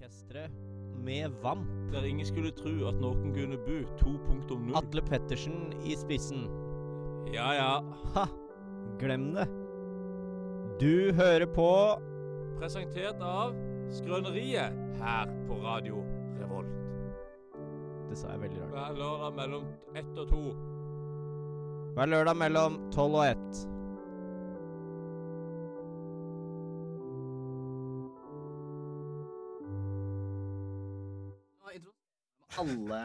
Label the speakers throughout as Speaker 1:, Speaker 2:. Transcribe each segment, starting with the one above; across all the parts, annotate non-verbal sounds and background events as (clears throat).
Speaker 1: Vestre med Vamp.
Speaker 2: Der ingen skulle tro at noen kunne bo
Speaker 3: Mm.
Speaker 2: 2.0.
Speaker 1: Atle Pettersen i spissen.
Speaker 2: Ja, ja.
Speaker 1: Ha! Glem det. Du hører på
Speaker 2: Presentert av Skrøneriet her på Radio Revolt.
Speaker 1: Det sa jeg veldig rart.
Speaker 2: Hver lørdag mellom ett og to.
Speaker 1: Hver lørdag mellom tolv og ett.
Speaker 4: Alle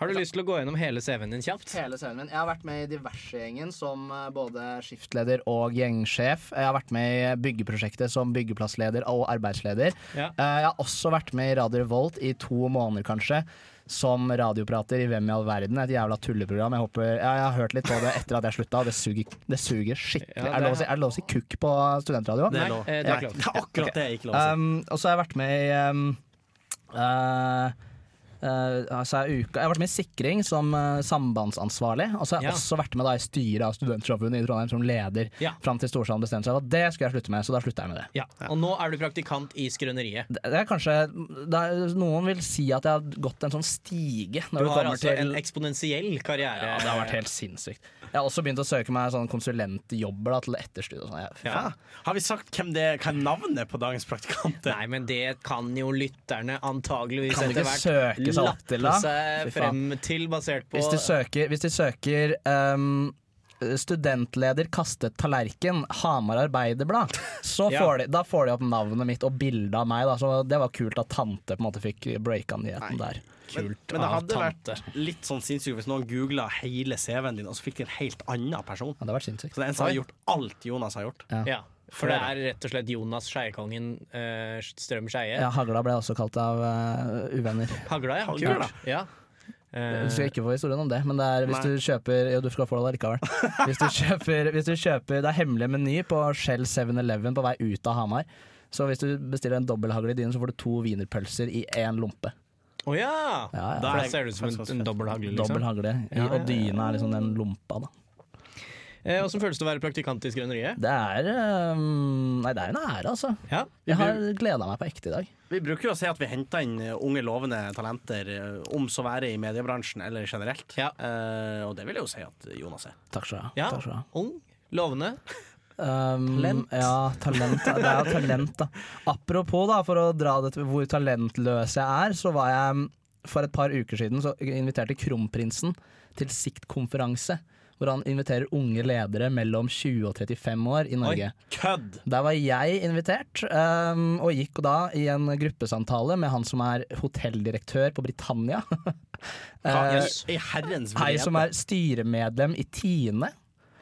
Speaker 5: Har du lyst til å gå gjennom hele CV-en din kjapt?
Speaker 4: hele serien min. Jeg har vært med i diversegjengen som eh, både skiftleder og gjengsjef. Jeg har vært med i byggeprosjektet som byggeplassleder og arbeidsleder.
Speaker 5: Ja.
Speaker 4: Eh, Jeg har også vært med i Radio Revolt i to måneder, kanskje, som radioprater i Hvem i all verden. Et jævla tulleprogram. Jeg, håper, ja, jeg har hørt litt på det etter at jeg slutta, og det suger, det suger skikkelig.
Speaker 5: Ja, det-
Speaker 4: er, det lov å si, er det lov å si kukk på studentradio?
Speaker 5: Nei,
Speaker 3: er lov.
Speaker 5: eh, det er
Speaker 4: Nei.
Speaker 5: klart.
Speaker 3: (laughs) Det er akkurat det jeg ikke lov å si.
Speaker 4: Um, og så har jeg vært med i um, uh, uh, altså jeg, uka, jeg har vært med i sikring som uh, sambandsansvarlig. Og så har jeg
Speaker 5: Ja.
Speaker 4: også vært med da, i styret av Studentsamfunnet i Trondheim som leder.
Speaker 5: Ja.
Speaker 4: Fram til Storsalen bestemte seg for at det skulle jeg slutte med, så da slutta jeg med det.
Speaker 5: Ja. Og nå er du praktikant i Skrøneriet.
Speaker 4: Det det er kanskje det er, Noen vil si at jeg har gått en sånn stige. Når
Speaker 5: Du
Speaker 4: det
Speaker 5: har
Speaker 4: kommer
Speaker 5: altså
Speaker 4: til
Speaker 5: en eksponentiell karriere.
Speaker 4: ja, det har vært helt sinnssykt. Jeg har også begynt å søke meg sånn konsulentjobber da, til etterstudiet. Og sånn.
Speaker 5: (laughs)
Speaker 4: Jeg-
Speaker 5: Ja.
Speaker 3: Hæ? Har vi sagt hvem, det, hva er navnet på dagens praktikant er?
Speaker 5: Nei, men det kan jo lytterne antageligvis
Speaker 4: Kan du
Speaker 5: etter
Speaker 4: ikke
Speaker 5: hvert
Speaker 4: søke seg opp
Speaker 5: lappe
Speaker 4: til, da?
Speaker 5: seg
Speaker 4: Fy
Speaker 5: frem
Speaker 4: faen.
Speaker 5: til, basert på
Speaker 4: Hvis de søker, hvis de søker ehm, Studentleder kastet tallerken, Hamar Arbeiderblad. Så
Speaker 3: (laughs)
Speaker 5: Ja.
Speaker 4: får de, da får de opp navnet mitt og bildet av meg. Da. Så det var kult at tante på en måte fikk breaka nyheten der.
Speaker 3: Men, men det
Speaker 5: av
Speaker 3: hadde vært
Speaker 5: tante.
Speaker 3: litt sånn sinnssykt hvis noen googla hele CV-en din, og så fikk de en helt annen person.
Speaker 4: Ja, det hadde vært sinnssykt.
Speaker 3: Så det er en som har gjort alt Jonas har gjort.
Speaker 5: Ja, for det er rett og slett Jonas Skeiekongen eh, Strøm Skeie.
Speaker 4: (laughs) Ja, Hagla ble jeg også kalt av eh, uvenner.
Speaker 5: Hagla, ja.
Speaker 3: Hagla.
Speaker 5: Kult. Ja. Eh,
Speaker 4: Du skal ikke få historien om det, men det er hvis
Speaker 3: Nei.
Speaker 4: du kjøper Jo, du skal få det likevel. Hvis
Speaker 5: (laughs)
Speaker 4: du kjøper, hvis du kjøper Det er hemmelig meny på Shell 7-Eleven på vei ut av Hamar. Så hvis du bestiller en dobbelthagle i din, så får du to wienerpølser i én lompe.
Speaker 5: Å ja!
Speaker 4: Ja, ja.
Speaker 5: Da
Speaker 3: Der-
Speaker 5: ser det ut som en, en dobbel hagle.
Speaker 4: Dobbel
Speaker 5: Liksom.
Speaker 4: hagle. I,
Speaker 5: Ja, ja, ja.
Speaker 4: Og dyna er liksom den lompa, da.
Speaker 5: Eh, Åssen føles det å være praktikant i Skrøneriet?
Speaker 4: Det er ehm, Nei, det er en ære, altså.
Speaker 5: Ja.
Speaker 4: Jeg har gleda meg på ekte i dag.
Speaker 3: Vi bruker jo å si at vi henter inn eh, unge, lovende talenter, eh, om så være i mediebransjen eller generelt.
Speaker 5: Ja.
Speaker 3: Eh, og det vil jeg jo si at Jonas er.
Speaker 4: Takk skal du ha.
Speaker 5: ja.
Speaker 4: Takk skal du ha.
Speaker 5: Ung, lovende.
Speaker 4: Ehm,
Speaker 5: Talent.
Speaker 4: Ja, talent. da. Det er jo talent, da. Apropos, da, for å dra det til hvor talentløs jeg er, så var jeg mm, for et par uker siden så inviterte kronprinsen til siktkonferanse. Hvor han inviterer unge ledere mellom 20 og 35 år i Norge.
Speaker 3: Kødd!
Speaker 4: Der var jeg invitert, ehm, og gikk da i en gruppesamtale med han som er hotelldirektør på Britannia.
Speaker 3: Hva
Speaker 4: Eh,
Speaker 3: i, I herrens
Speaker 4: Hei som
Speaker 3: vrede.
Speaker 4: er styremedlem i Tine,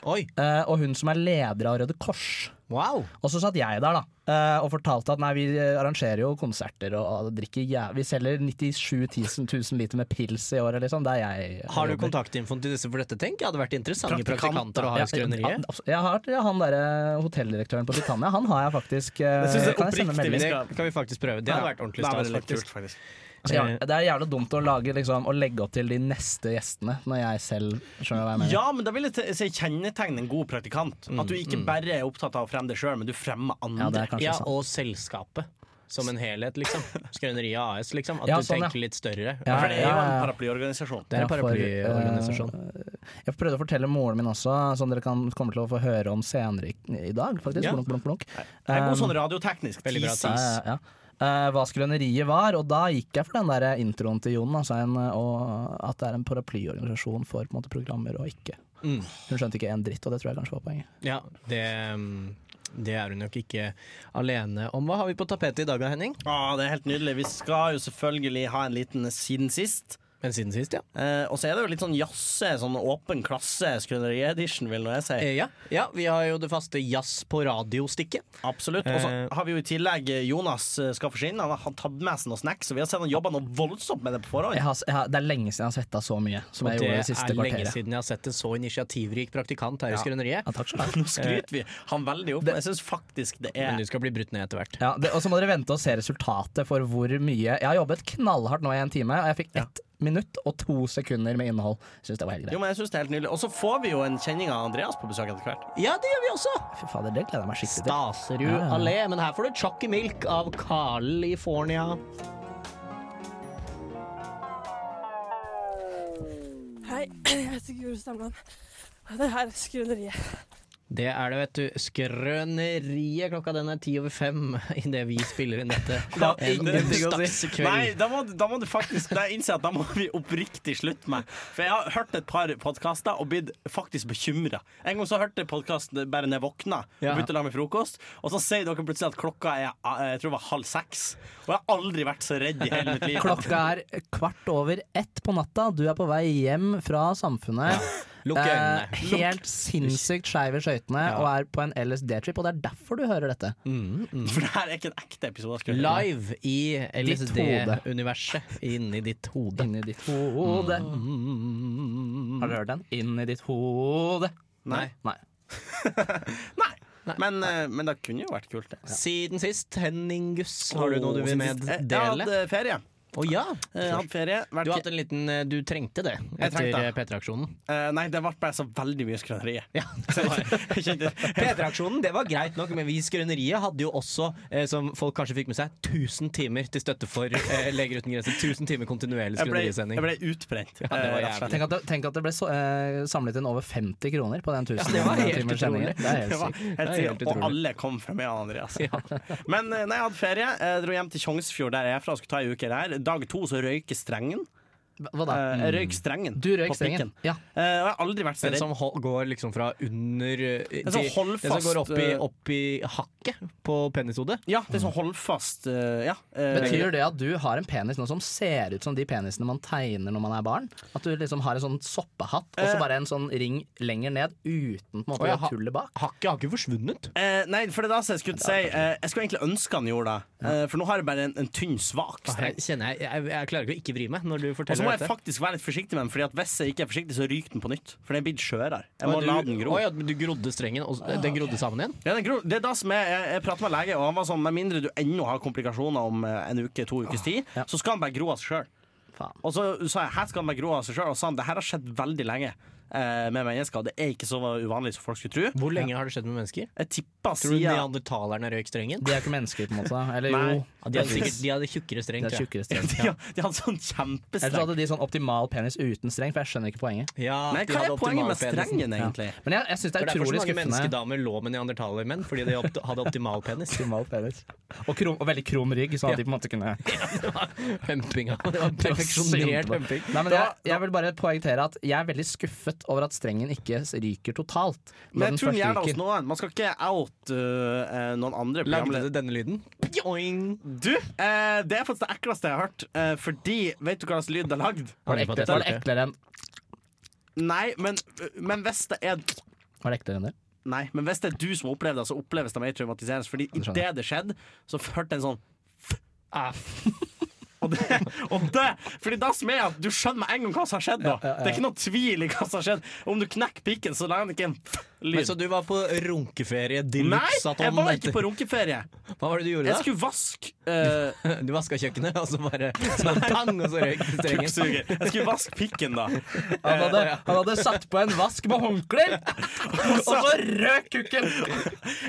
Speaker 5: Oi,
Speaker 4: eh, og hun som er leder av Røde Kors.
Speaker 5: wow!
Speaker 4: Og så satt jeg der da, eh, og fortalte at nei, vi eh, arrangerer jo konserter og, og drikker jæv... Vi selger 97 000 liter med pils i året, liksom. Det er jeg.
Speaker 5: Har du
Speaker 4: jobber.
Speaker 5: kontaktinfoen til disse for dette, tenk? Hadde vært interessante
Speaker 3: Praktikant,
Speaker 5: praktikanter å ha i
Speaker 4: Ja,
Speaker 5: Skrøneriet.
Speaker 4: abs- jeg har ja, han derre hotelldirektøren på Britannia, han har jeg faktisk eh,
Speaker 3: Det synes jeg
Speaker 4: kan jeg sende
Speaker 3: oppriktig
Speaker 4: melding?
Speaker 3: vi
Speaker 5: Det
Speaker 3: skal-
Speaker 5: kan vi faktisk prøve. Det hadde vært ordentlig stas,
Speaker 3: Det er veldig
Speaker 5: faktisk.
Speaker 3: kult, faktisk.
Speaker 4: Ja, det er jævlig dumt å lage, liksom, å legge opp til de neste gjestene, når jeg selv skjønner hva jeg mener.
Speaker 3: Ja, men da vil jeg te- si kjennetegne en god praktikant. At du ikke bare er opptatt av å fremme deg sjøl, men du fremmer andre.
Speaker 4: Ja, det er kanskje
Speaker 5: Ja,
Speaker 4: sant.
Speaker 5: og selskapet. Som en helhet, liksom. Skrøneriet AS, liksom. At
Speaker 4: Ja,
Speaker 5: du
Speaker 4: sånn, ja.
Speaker 5: tenker litt større.
Speaker 4: Ja,
Speaker 3: For det er jo en
Speaker 4: ja, ja.
Speaker 3: paraplyorganisasjon.
Speaker 5: Det er en
Speaker 4: Ja, for, eh,
Speaker 5: paraplyorganisasjon.
Speaker 4: Jeg prøvde å fortelle moren min også, som dere kan komme til å få høre om senere i, i dag, faktisk.
Speaker 5: Ja.
Speaker 4: Blunk, blunk, blunk.
Speaker 3: Det er god
Speaker 4: Um,
Speaker 3: sånn radioteknisk
Speaker 5: Veldig bra
Speaker 3: teasing.
Speaker 5: tips.
Speaker 4: Ja, ja, ja. Eh, hva skrøneriet var, og da gikk jeg for den der introen til Jon. Altså en, eh, og at det er en paraplyorganisasjon for på en måte, programmer og ikke.
Speaker 5: Mm.
Speaker 4: Hun skjønte ikke en dritt, og det tror jeg kanskje var poenget.
Speaker 5: Ja, det, mm, det er hun nok ikke alene om. Hva har vi på tapetet i dag, da, Henning?
Speaker 3: Ah, det er helt nydelig. Vi skal jo selvfølgelig ha en liten siden sist.
Speaker 5: Men siden sist, ja.
Speaker 3: Eh, og så er det jo litt sånn jazze, sånn åpen klasse skrøneriedition, vil nå jeg si.
Speaker 5: Eh, ja. ja. Vi har jo det faste jazz på radio-stikket.
Speaker 3: Absolutt. Og så
Speaker 5: eh.
Speaker 3: har vi jo i tillegg eh, Jonas eh, skal forsvinne. Han har tatt med seg noe snacks, og vi har sett han jobba noe voldsomt med det på forhånd.
Speaker 4: Jeg har, jeg har, det er lenge siden jeg har svetta så mye
Speaker 5: Og
Speaker 4: som jeg
Speaker 5: det
Speaker 4: gjorde
Speaker 5: er
Speaker 4: det siste
Speaker 5: lenge
Speaker 4: kvarteret.
Speaker 5: siden jeg har sett en så initiativrik praktikant her i Skrøneriet.
Speaker 4: Ja, takk skal du ha.
Speaker 5: (laughs)
Speaker 3: Nå skryter vi han veldig opp, men jeg syns faktisk det
Speaker 5: Men
Speaker 3: er
Speaker 5: du skal bli brutt ned etter hvert.
Speaker 4: Ja, det, og så må dere vente og se resultatet for hvor mye Jeg har jobbet knallhardt nå i en time, og jeg fikk ett minutt og to sekunder med innhold. Syns det var helt
Speaker 3: Jo,
Speaker 4: greit.
Speaker 3: men jeg synes det er helt nydelig. Og så får vi jo en kjenning av Andreas på besøk etter hvert.
Speaker 5: Ja, det gjør vi også!
Speaker 4: Fy fader, det gleder jeg meg skikkelig til.
Speaker 5: Staserud allé, men her får du Chucky Milk av Carl i Fornia.
Speaker 6: Hei, (clears throat) jeg heter Guro Stamland. Og det her er Skrøneriet.
Speaker 5: Det er det, vet du. Skrøneriet. Klokka den er ti over fem idet vi spiller inn (laughs) dette.
Speaker 3: Da,
Speaker 5: En onsdags
Speaker 3: Nei,
Speaker 5: kveld.
Speaker 3: da må, da må du faktisk Da innser jeg at da må vi oppriktig slutte med For jeg har hørt et par podkaster og blitt faktisk bekymra. En gang så hørte jeg podkasten bare når jeg våkna
Speaker 5: Ja.
Speaker 3: og begynte å lage meg frokost, og så sier dere plutselig at klokka er eh, jeg tror det var halv seks. Og jeg har aldri vært så redd i hele mitt liv.
Speaker 4: Klokka er kvart over ett på natta. Du er på vei hjem fra samfunnet.
Speaker 5: Lukk øynene.
Speaker 4: Eh, helt sinnssykt skeiv i skøytene og er på en LSD-trip, og det er derfor du hører dette.
Speaker 3: For det her er ikke en ekte episode. Skal jeg
Speaker 5: Live i
Speaker 4: hode.
Speaker 5: LSD-universet. Inni ditt hode.
Speaker 4: Inni ditt hode. Har du hørt den? Inni ditt hode.
Speaker 3: Nei.
Speaker 4: Nei.
Speaker 3: Men, eh, men det kunne jo vært kult, det.
Speaker 5: Siden sist, Henning Guss, har du noe du vil
Speaker 3: Eh, Jeg
Speaker 5: meddele?
Speaker 3: hadde ferie. Eh,
Speaker 5: Å ja!
Speaker 3: Jeg hadde ferie.
Speaker 5: Du
Speaker 3: Vært,
Speaker 5: har hatt en liten eh, Du trengte det
Speaker 3: Jeg
Speaker 5: etter
Speaker 3: trengte det.
Speaker 5: eh, P3-aksjonen.
Speaker 3: eh, nei, det ble bare så veldig mye (laughs) skrøneriet.
Speaker 5: Ja. (laughs)
Speaker 3: Jeg kjente-
Speaker 5: P3-aksjonen det var greit nok, men vi i Skrøneriet hadde jo også, eh, som folk kanskje fikk med seg, 1000 timer til støtte for eh, Leger uten grenser. 1000 timer kontinuerlig
Speaker 3: Jeg ble, jeg
Speaker 5: skrønerisending.
Speaker 3: ble utbrent.
Speaker 5: var
Speaker 3: eh, rett og
Speaker 5: jævlig.
Speaker 3: slett.
Speaker 4: Tenk at, det- tenk at det ble så, eh, samlet inn over 50 kroner på den 1000
Speaker 5: det var helt
Speaker 4: timers sendingen.
Speaker 5: utrolig.
Speaker 4: Det er helt
Speaker 3: Det var
Speaker 4: sykt.
Speaker 3: helt
Speaker 5: Det er helt
Speaker 3: sykt. Og
Speaker 5: utrolig.
Speaker 3: alle kom fra meg
Speaker 5: (laughs)
Speaker 3: og Andreas. Men eh, nei, jeg hadde ferie. Jeg dro hjem til Tjongsfjord, der jeg er fra, og skulle ta ei uke der. Dag to så røyker strengen.
Speaker 4: Hva da? Mm.
Speaker 3: Eh, Jeg røyk strengen
Speaker 4: Du røyk
Speaker 3: på
Speaker 4: strengen.
Speaker 3: pikken.
Speaker 4: Ja.
Speaker 3: Eh, og jeg har aldri vært så
Speaker 5: Den
Speaker 3: redd.
Speaker 5: som hol- går liksom fra under eh, til,
Speaker 3: som holder
Speaker 5: Den som
Speaker 3: fast,
Speaker 5: går opp i,
Speaker 3: eh,
Speaker 5: opp i hakket på penishodet.
Speaker 3: Ja, det som holder fast eh, ja. eh,
Speaker 4: Betyr det at du har en penis nå som ser ut som de penisene man tegner når man er barn? At du liksom har en sånn soppehatt og så
Speaker 3: Eh.
Speaker 4: bare en sånn ring lenger ned uten på en måte
Speaker 5: Å,
Speaker 4: å
Speaker 5: jeg
Speaker 4: gjøre
Speaker 5: har-
Speaker 4: tullet bak?
Speaker 5: Hakket har ikke forsvunnet.
Speaker 3: Eh, nei, for det er det som jeg skulle si. Eh, jeg skulle egentlig ønske han gjorde det, Eh, for nå har jeg bare en, en tynn, svak streng.
Speaker 5: Jeg, kjenner, jeg, jeg, jeg klarer ikke å ikke vri meg når du
Speaker 3: Og så
Speaker 5: forteller
Speaker 3: må jeg
Speaker 5: dette.
Speaker 3: faktisk være litt forsiktig med den, Fordi at hvis jeg ikke er forsiktig, så ryker den på nytt. For den er blitt skjørere. Jeg
Speaker 5: Å,
Speaker 3: må
Speaker 5: du-
Speaker 3: la den gro.
Speaker 5: Å ja, men du grodde strengen, og s- den grodde sammen igjen?
Speaker 3: Ja, den gror- det er da som jeg, jeg, jeg prater med lege, og han var sånn Med mindre du ennå har komplikasjoner om eh, en uke, to ukers tid,
Speaker 4: Ja.
Speaker 3: så skal han bare gro av seg sjøl.
Speaker 4: Faen.
Speaker 3: Og så sa jeg her skal han bare gro av seg sjøl, og sa han det her har skjedd veldig lenge eh, med mennesker. og Det er ikke så uvanlig som folk skulle tro.
Speaker 5: Hvor lenge har det skjedd med mennesker?
Speaker 3: Jeg tippa
Speaker 5: Tror du
Speaker 3: siden
Speaker 5: neandertalerne røyk strengen?
Speaker 4: De er ikke mennesker, på en måte. Eller
Speaker 3: Nei. (laughs)
Speaker 4: jo,
Speaker 5: Ja, de hadde sikkert de hadde tjukkere
Speaker 4: de
Speaker 5: streng,
Speaker 4: er
Speaker 5: tror jeg.
Speaker 4: tjukkere streng.
Speaker 3: de, de hadde sånn
Speaker 4: Eller så
Speaker 3: kjempestreng
Speaker 4: hadde de sånn optimal penis uten streng, for jeg skjønner ikke poenget.
Speaker 5: Ja,
Speaker 3: Nei,
Speaker 5: de
Speaker 3: hva
Speaker 5: hadde
Speaker 3: er poenget med
Speaker 5: optimal penisen.
Speaker 3: strengen, egentlig?
Speaker 4: Men jeg, jeg syns det
Speaker 5: Det
Speaker 4: er
Speaker 5: er derfor så
Speaker 4: utrolig
Speaker 5: mange
Speaker 4: skuffende.
Speaker 5: menneskedamer lå med neandertalermenn, fordi de opt- hadde optimal (laughs) penis.
Speaker 4: Optimal penis. Og, krum, og veldig krum rygg, sånn at de på en måte kunne
Speaker 3: (laughs)
Speaker 5: Humpinga. (laughs) Det var perfeksjonert humping.
Speaker 4: Nei, men jeg, jeg vil bare poengtere at jeg er veldig skuffet over at strengen ikke ryker totalt. når
Speaker 3: Men
Speaker 4: den
Speaker 3: jeg tror den
Speaker 4: først
Speaker 3: gjør det
Speaker 4: ryker.
Speaker 3: hos noen. Man skal ikke out eh, noen andre
Speaker 5: Lagde
Speaker 3: programledere.
Speaker 5: du denne lyden? Pjoing!
Speaker 3: Du, eh, det er faktisk det ekleste jeg har hørt, eh, fordi Vet du hva slags lyd det er lagd?
Speaker 4: Var det ekle- var det eklere enn
Speaker 3: Nei, men, men hvis det er
Speaker 4: Var det
Speaker 3: (laughs)
Speaker 4: eklere enn det?
Speaker 3: Nei, men hvis det er du som opplever det, så oppleves det mer traumatiserende. Fordi
Speaker 4: skjønner
Speaker 3: idet det skjedde, så hørte jeg en sånn og det, og det Fordi det som er at du skjønner med en gang hva som har skjedd. da Det er ikke noe tvil i hva som har skjedd. Om du knekker pikken, så lager den ikke en
Speaker 5: Men
Speaker 3: lyd.
Speaker 5: så du var på runkeferie de
Speaker 3: Nei,
Speaker 5: luxe at
Speaker 3: jeg
Speaker 5: om
Speaker 3: var
Speaker 5: etter-
Speaker 3: ikke på runkeferie.
Speaker 5: Hva var det du gjorde
Speaker 3: Jeg
Speaker 5: da?
Speaker 3: skulle vaske
Speaker 5: (laughs)
Speaker 3: eh,
Speaker 5: Du vaska kjøkkenet, og så
Speaker 3: (laughs)
Speaker 5: bare så pang, og så røyk strengen.
Speaker 3: kukksuger. Jeg skulle vaske pikken, da.
Speaker 4: Han hadde, han hadde satt på en vask med
Speaker 3: (laughs)
Speaker 4: håndklær, og så
Speaker 3: Altså.
Speaker 4: røk kukken!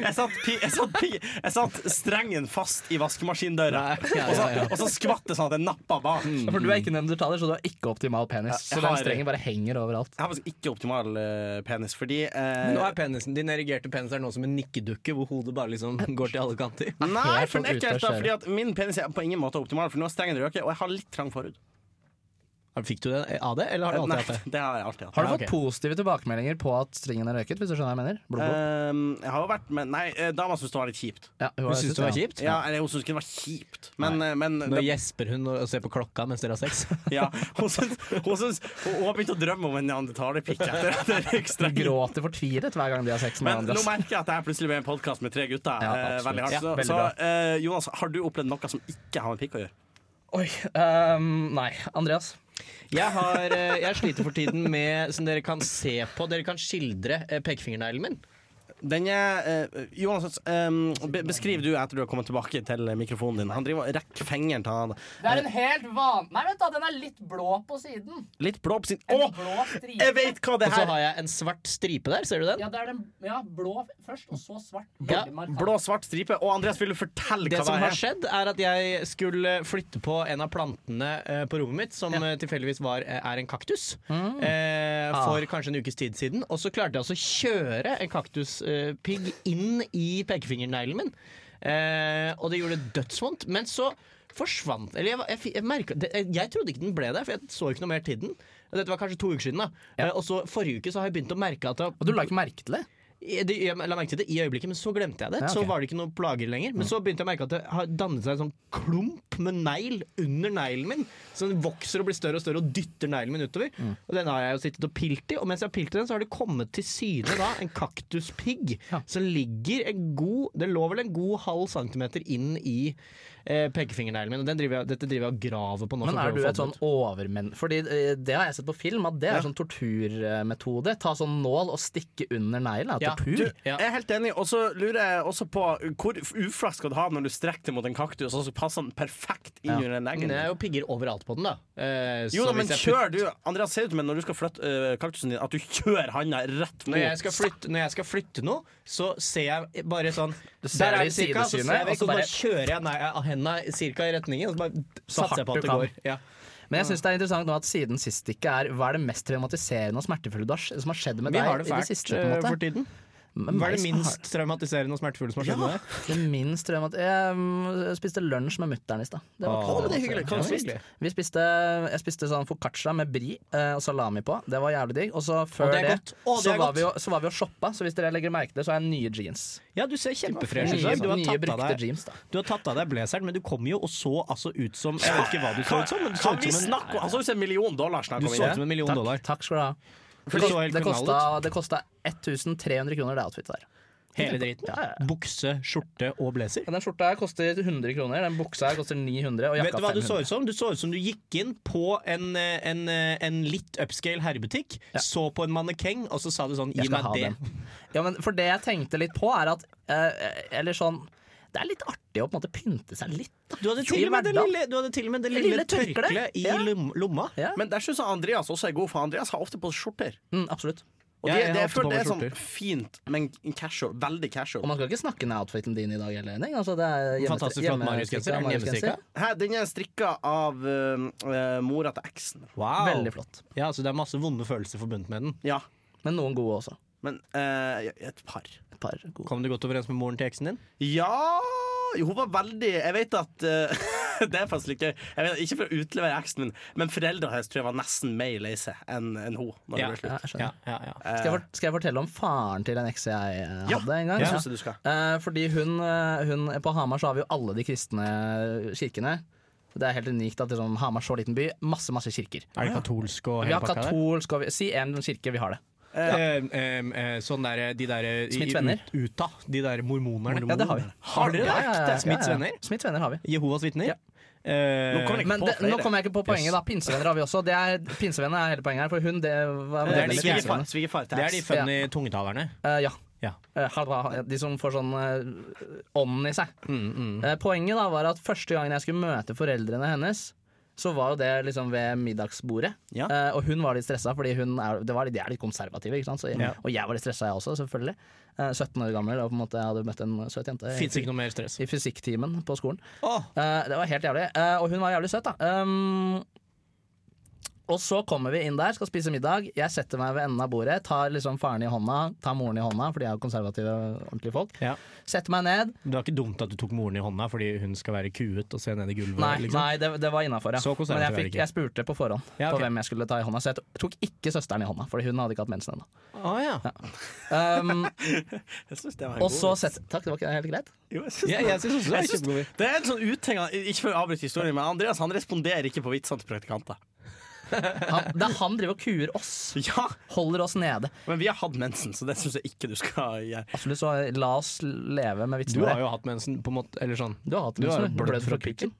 Speaker 3: Jeg satt, pi, jeg satt, pi, jeg satt strengen fast i vaskemaskindøra,
Speaker 5: Nei, ja,
Speaker 3: og så,
Speaker 5: ja, ja.
Speaker 3: og så skvatt det sånn at jeg nappa bak.
Speaker 4: For du er ikke neandertaler, så du har ikke optimal penis.
Speaker 3: jeg
Speaker 4: så den
Speaker 3: har-
Speaker 4: strengen bare henger overalt.
Speaker 3: Jeg har faktisk ikke optimal eh, penis, fordi eh,
Speaker 5: Nå er penisen, Din erigerte penis er nå som en nikkedukke, hvor hodet bare liksom går til alle kanter.
Speaker 3: Nei,
Speaker 4: helt
Speaker 3: for den er
Speaker 4: ute å
Speaker 3: ikke helt da,
Speaker 4: kjøre.
Speaker 3: fordi at min penis er på ingen måte optimal, for nå er strengen røket, og jeg har litt trang forhud.
Speaker 5: Fikk du det av det, eller har du
Speaker 3: Nei,
Speaker 5: alltid hatt det?
Speaker 3: det har jeg alltid hatt.
Speaker 4: Har du
Speaker 5: Ja,
Speaker 4: fått
Speaker 5: ok.
Speaker 4: positive tilbakemeldinger på at strengen er røket? Hvis du skjønner hva jeg mener? Blå, blå.
Speaker 3: Ehm, jeg har jo vært med Nei, eh, dama syntes det var litt kjipt.
Speaker 4: Ja, hun
Speaker 5: Du
Speaker 4: har-
Speaker 5: syns det var
Speaker 4: ja.
Speaker 5: kjipt?
Speaker 3: Ja, eller Hun syntes ikke det var kjipt, men, eh, men
Speaker 5: Nå
Speaker 3: det,
Speaker 5: gjesper hun og og ser på klokka mens dere har sex.
Speaker 3: (laughs) ja, hun, syns, hun, syns, hun, hun har begynt å drømme om en neandertalerpikk etter at det røyk
Speaker 4: Hun
Speaker 3: strengen.
Speaker 4: gråter fortvilet hver gang de har sex med
Speaker 3: Men nå
Speaker 4: Andreas.
Speaker 3: merker jeg at jeg plutselig ble en podkast med tre gutter.
Speaker 4: Ja,
Speaker 3: eh,
Speaker 4: absolutt.
Speaker 3: veldig hardt.
Speaker 4: Ja,
Speaker 3: Så,
Speaker 4: veldig
Speaker 3: så
Speaker 4: bra.
Speaker 3: eh, Jonas, har du opplevd noe som ikke har med pikk å gjøre?
Speaker 4: Oi, ehm, nei. Andreas.
Speaker 5: Jeg, har, eh, jeg sliter for tiden med, som dere kan se på, dere kan skildre eh, pekefingerneglen min.
Speaker 3: Denne eh, Jonas, eh, be beskriv du etter du har kommet tilbake til mikrofonen din. Han driver og rekker fingeren til han.
Speaker 4: Det er en helt van... Nei, vent da, den er litt blå på siden.
Speaker 3: Litt blå på sin
Speaker 4: En
Speaker 3: Å!
Speaker 4: blå stripe.
Speaker 7: Eh,
Speaker 3: Jeg vet hva det
Speaker 7: Og så
Speaker 3: her
Speaker 7: har jeg en svart stripe der, ser du den?
Speaker 4: Ja, det er den ja, blå først, og så svart.
Speaker 7: Ja,
Speaker 4: Veldig markant.
Speaker 3: Blå-svart stripe. Og Andreas, vil du fortelle
Speaker 7: Det
Speaker 3: hva
Speaker 7: som
Speaker 3: det
Speaker 7: har
Speaker 3: er?
Speaker 7: skjedd, er at jeg skulle flytte på en av plantene eh, på rommet mitt, som eh, tilfeldigvis var, eh, er en kaktus,
Speaker 4: Mm.
Speaker 7: eh,
Speaker 4: Ah.
Speaker 7: for kanskje en ukes tid siden. Og så klarte jeg altså å kjøre en kaktuspigg inn i pekefingerneglen min, eh, og det gjorde dødsvondt. Men så forsvant Eller jeg, var- jeg, fi- jeg, merket- det, eh, jeg, jeg trodde ikke den ble der, for jeg så ikke noe mer til den. Dette var kanskje to uker siden. da eh, Og så Forrige uke så har jeg begynt å merke at det,
Speaker 4: Og du la ikke merke til det?
Speaker 7: jeg, det, jeg la merke til det i øyeblikket, men så glemte jeg det.
Speaker 4: Ja, ok.
Speaker 7: Så var det ikke noen plager lenger. Men så begynte jeg å merke at det har dannet seg en sånn klump med negl under neglen min. Så den vokser og blir større og større og dytter neglen min utover.
Speaker 4: Mm.
Speaker 7: Og den har jeg jo sittet og pilt i. Og mens jeg har pilt i den, så har det kommet til syne da en kaktuspigg
Speaker 4: Ja.
Speaker 7: som ligger en god Det lå vel en god halv centimeter inn i eh, pekefingerneglen min. Og den driver jeg, dette driver jeg og graver på nå.
Speaker 4: Men
Speaker 7: for å
Speaker 4: er du
Speaker 7: prøve å få
Speaker 4: et
Speaker 7: den
Speaker 4: sånn overmenn... Fordi eh, det har jeg sett på film, at det er sånn torturmetode. Ta sånn nål og stikke under neglen. er
Speaker 7: Ja,
Speaker 4: Tortur.
Speaker 3: Du,
Speaker 7: Ja.
Speaker 3: Jeg er helt enig, og så lurer jeg også på hvor uflaks skal du ha når du strekker deg mot en kaktus, og så passer den perfekt inn
Speaker 4: Ja.
Speaker 3: under den
Speaker 7: ut. Men
Speaker 3: neglen.
Speaker 7: det er jo pigger overalt på den, da. Eh,
Speaker 3: Jo
Speaker 7: så
Speaker 3: da,
Speaker 7: hvis
Speaker 3: men
Speaker 7: jeg
Speaker 3: kjør du Andreas ser ut som en når du skal flytte øh, kaktusen din, at du kjører handa rett
Speaker 7: Når
Speaker 3: mot
Speaker 7: jeg, skal flytte, når jeg skal flytte noe, så ser jeg bare sånn
Speaker 4: ser
Speaker 7: Der
Speaker 4: det
Speaker 7: er
Speaker 4: i
Speaker 7: det cirka, så ser
Speaker 4: sidesynet,
Speaker 7: jeg
Speaker 4: og
Speaker 7: vekk,
Speaker 4: så
Speaker 7: og så
Speaker 4: bare-
Speaker 7: bare kjører jeg nei, henda cirka i retningen, og så bare satser jeg
Speaker 4: hardt
Speaker 7: på at
Speaker 4: du
Speaker 7: det
Speaker 4: kan.
Speaker 7: går. Ja.
Speaker 4: Men jeg synes det er interessant nå at siden sist ikke er Hva er det mest traumatiserende og smertefulle du har- som har skjedd med
Speaker 7: Vi
Speaker 4: deg
Speaker 7: har det
Speaker 4: i det
Speaker 7: fælt
Speaker 4: siste? på
Speaker 7: eh,
Speaker 4: en måte? Mm.
Speaker 7: for tiden.
Speaker 4: Men
Speaker 7: Hva
Speaker 4: meg
Speaker 7: er det
Speaker 4: som
Speaker 7: minst traumatiserende og smertefulle som har skjedd med deg?
Speaker 4: har- Det minst traumat... Jeg mm, spiste lunsj med mutter'n i stad. Det var
Speaker 7: Åh, men det er
Speaker 4: traumatisk.
Speaker 7: hyggelig. Hva
Speaker 4: Ja,
Speaker 7: spiste du?
Speaker 4: Vi spiste, jeg spiste sånn foccaccia med brie eh, og salami på. Det var jævlig digg. Og så
Speaker 7: Å,
Speaker 4: før
Speaker 7: det er
Speaker 4: det,
Speaker 7: godt. Å, det
Speaker 4: så,
Speaker 7: er
Speaker 4: var
Speaker 7: godt.
Speaker 4: vi jo, så var vi og shoppa, så hvis dere legger merke til det, så har jeg nye jeans.
Speaker 7: Ja, du ser kjempefresh ut. i
Speaker 4: Nye,
Speaker 7: dag. Du har
Speaker 4: sånn nye
Speaker 7: tatt av
Speaker 4: brukte
Speaker 7: deg
Speaker 4: jeans, da.
Speaker 7: du har tatt av deg blazeren, men du kom jo og så altså ut som Jeg vet ikke hva du så ut som, men du så
Speaker 3: Kan
Speaker 7: ut
Speaker 3: vi
Speaker 7: Sånn som en,
Speaker 3: snakke om Han så ut som en million dollar snart
Speaker 7: du
Speaker 3: kom
Speaker 7: så ut
Speaker 3: inn.
Speaker 7: som en million
Speaker 4: altså, Takk,
Speaker 7: dollar.
Speaker 4: takk skal du ha.
Speaker 7: For det så helt
Speaker 4: Det
Speaker 7: knall
Speaker 4: kosta,
Speaker 7: ut.
Speaker 4: det kosta 1300 kroner, det outfitet der.
Speaker 7: Hele driten.
Speaker 4: Ja, ja, ja.
Speaker 7: Bukse, skjorte og blazer.
Speaker 4: Den skjorta her koster 100 kroner, den buksa her koster 900, og
Speaker 7: Vet
Speaker 4: jakka
Speaker 7: du hva du så
Speaker 4: 500.
Speaker 7: ut som? Du så ut som du gikk inn på en, eh, en, eh, en litt upscale herrebutikk, så på en mannekeng, og så sa du sånn
Speaker 4: Jeg
Speaker 7: Gi
Speaker 4: skal
Speaker 7: meg
Speaker 4: ha
Speaker 7: det.
Speaker 4: den. Ja, men for det jeg tenkte litt på, er at eh, Eller sånn Det er litt artig å på en måte pynte seg litt. da.
Speaker 7: Du hadde,
Speaker 4: Jo,
Speaker 7: til
Speaker 4: i
Speaker 7: og med det
Speaker 4: hverdagen.
Speaker 7: lille, du hadde til og med det
Speaker 4: Det
Speaker 7: lille,
Speaker 4: lille tørkleet.
Speaker 7: tørkleet i
Speaker 4: Ja.
Speaker 7: lom- lomma.
Speaker 4: Ja.
Speaker 3: Men der syns jeg Andreas også er god, for Andreas har ofte på seg skjorter.
Speaker 4: Mm, absolutt.
Speaker 3: Og
Speaker 7: Ja,
Speaker 3: det, det,
Speaker 7: jeg har
Speaker 3: jeg
Speaker 7: ofte på
Speaker 3: føler det er
Speaker 7: meg
Speaker 3: sånn
Speaker 7: skjorter.
Speaker 3: fint, men casual. Veldig
Speaker 4: Og
Speaker 3: casual.
Speaker 4: man skal ikke snakke ned outfiten din i dag heller, Henning. Altså, det er hjemme-
Speaker 7: Fantastisk flott
Speaker 4: hjemme-
Speaker 7: Marius-genser. Er den hjemmestrikka?
Speaker 3: Her, den er strikka av øh, øh, mora til eksen.
Speaker 7: Wow.
Speaker 4: Veldig flott.
Speaker 7: Ja, så det er masse vonde følelser forbundet med den.
Speaker 3: Ja,
Speaker 4: Men noen gode også.
Speaker 3: men øh, ja, et par.
Speaker 4: Et par gode.
Speaker 7: Kom du godt overens med moren til eksen din?
Speaker 3: Ja Jo, hun var veldig Jeg vet at øh, (laughs) Det er faktisk litt gøy. Jeg vet, ikke for å utlevere eksen min, men foreldra hennes tror jeg var nesten mer lei seg enn enn hun. Når det ble slutt.
Speaker 4: Ja, jeg skjønner. Eh,
Speaker 7: ja, ja.
Speaker 4: Skal jeg, fort- skal jeg fortelle om faren til en ekse jeg eh,
Speaker 3: Ja,
Speaker 4: hadde en gang?
Speaker 3: Det syns jeg du skal.
Speaker 4: Eh, fordi hun, eh, hun På Hamar så har vi jo alle de kristne eh, kirkene. Det er helt unikt at liksom, Hamar er så liten by. Masse, masse kirker.
Speaker 7: Er det katolsk og
Speaker 4: Vi har katolsk og vi, Si én kirke, vi har det.
Speaker 7: Eh, eh, eh, sånn der, de der eh, i-
Speaker 4: Smiths venner.
Speaker 7: ut- Utah. De der mormonerne.
Speaker 4: Ja, det har vi.
Speaker 7: Har dere det?
Speaker 4: Ja, ja, ja, ja, ja.
Speaker 7: Smiths venner?
Speaker 4: Smiths venner har vi.
Speaker 7: Jehovas vitner?
Speaker 4: Ja.
Speaker 7: Eh,
Speaker 3: Nå kommer det ikke
Speaker 4: Men
Speaker 3: på
Speaker 4: det, nå
Speaker 3: flere.
Speaker 4: kommer jeg ikke på poenget, da. Pinsevenner har vi også. Det er, pinsevenner er hele poenget her, for hun det var
Speaker 7: Det er
Speaker 4: medlem i
Speaker 7: de ikke-
Speaker 4: Pinsevenner.
Speaker 3: Svigerfar svigerfar til
Speaker 7: det er
Speaker 3: eks.
Speaker 7: de funny tungetalerne.
Speaker 4: Eh, ja.
Speaker 7: Ja.
Speaker 4: Eh, halva- ja, De som får sånn eh, ånden i seg.
Speaker 7: Mm,
Speaker 4: Eh, poenget da var at første gangen jeg skulle møte foreldrene hennes, så var jo det liksom ved middagsbordet.
Speaker 3: Ja.
Speaker 4: Eh, og hun var litt stressa, fordi hun er, det var, litt- de er litt konservative. Ikke sant? Så, Og jeg var litt stressa, jeg også, selvfølgelig. Eh, 17 år gammel og på en måte jeg hadde møtt en søt jente
Speaker 7: Fins ikke noe mer stress.
Speaker 4: i fysikktimen på skolen.
Speaker 7: Åh,
Speaker 4: Eh, det var helt jævlig. Eh, og hun var jævlig søt, da. Um, og så kommer vi inn der, skal spise middag. Jeg setter meg ved enden av bordet, tar liksom faren i hånda, tar moren i hånda, for de er jo konservative og ordentlige folk.
Speaker 7: Ja.
Speaker 4: Setter meg ned.
Speaker 7: Det var ikke dumt at du tok moren i hånda fordi hun skal være kuet og se ned i gulvet.
Speaker 4: Nei,
Speaker 7: liksom.
Speaker 4: nei det, det var innafor, ja.
Speaker 7: Så
Speaker 4: Men jeg,
Speaker 7: konservativ er det
Speaker 4: fikk,
Speaker 7: ikke.
Speaker 4: jeg spurte på forhånd
Speaker 7: Ja, ok.
Speaker 4: på hvem jeg skulle ta i hånda, så jeg tok ikke søsteren i hånda, Fordi hun hadde ikke hatt mensen ennå.
Speaker 7: Ah, ja. (laughs)
Speaker 4: Um,
Speaker 3: Jeg synes det var en
Speaker 4: og
Speaker 3: god
Speaker 4: så
Speaker 3: vits.
Speaker 4: setter Takk, det var ikke helt greit?
Speaker 3: Jo, jeg synes
Speaker 7: Ja, jeg synes også det var
Speaker 3: Jeg synes-
Speaker 7: kjempegod vits.
Speaker 3: Det er en sånn uting han- Ikke for å avbryte historien, men Andreas han responderer ikke på vitsene til praktikanter.
Speaker 4: Han, det er han driver og kuer oss.
Speaker 3: Ja,
Speaker 4: Holder oss nede.
Speaker 3: men vi har hatt mensen, så det syns jeg ikke du skal gjøre.
Speaker 4: Absolutt, så la oss leve med
Speaker 7: Du
Speaker 4: vitsene
Speaker 7: har
Speaker 4: våre.
Speaker 7: jo hatt mensen, på en måte. Eller sånn.
Speaker 4: Du har hatt
Speaker 7: Du
Speaker 4: det,
Speaker 7: har
Speaker 4: så
Speaker 7: jo
Speaker 4: du
Speaker 7: blødd
Speaker 4: blødd
Speaker 7: fra
Speaker 4: fra pikken.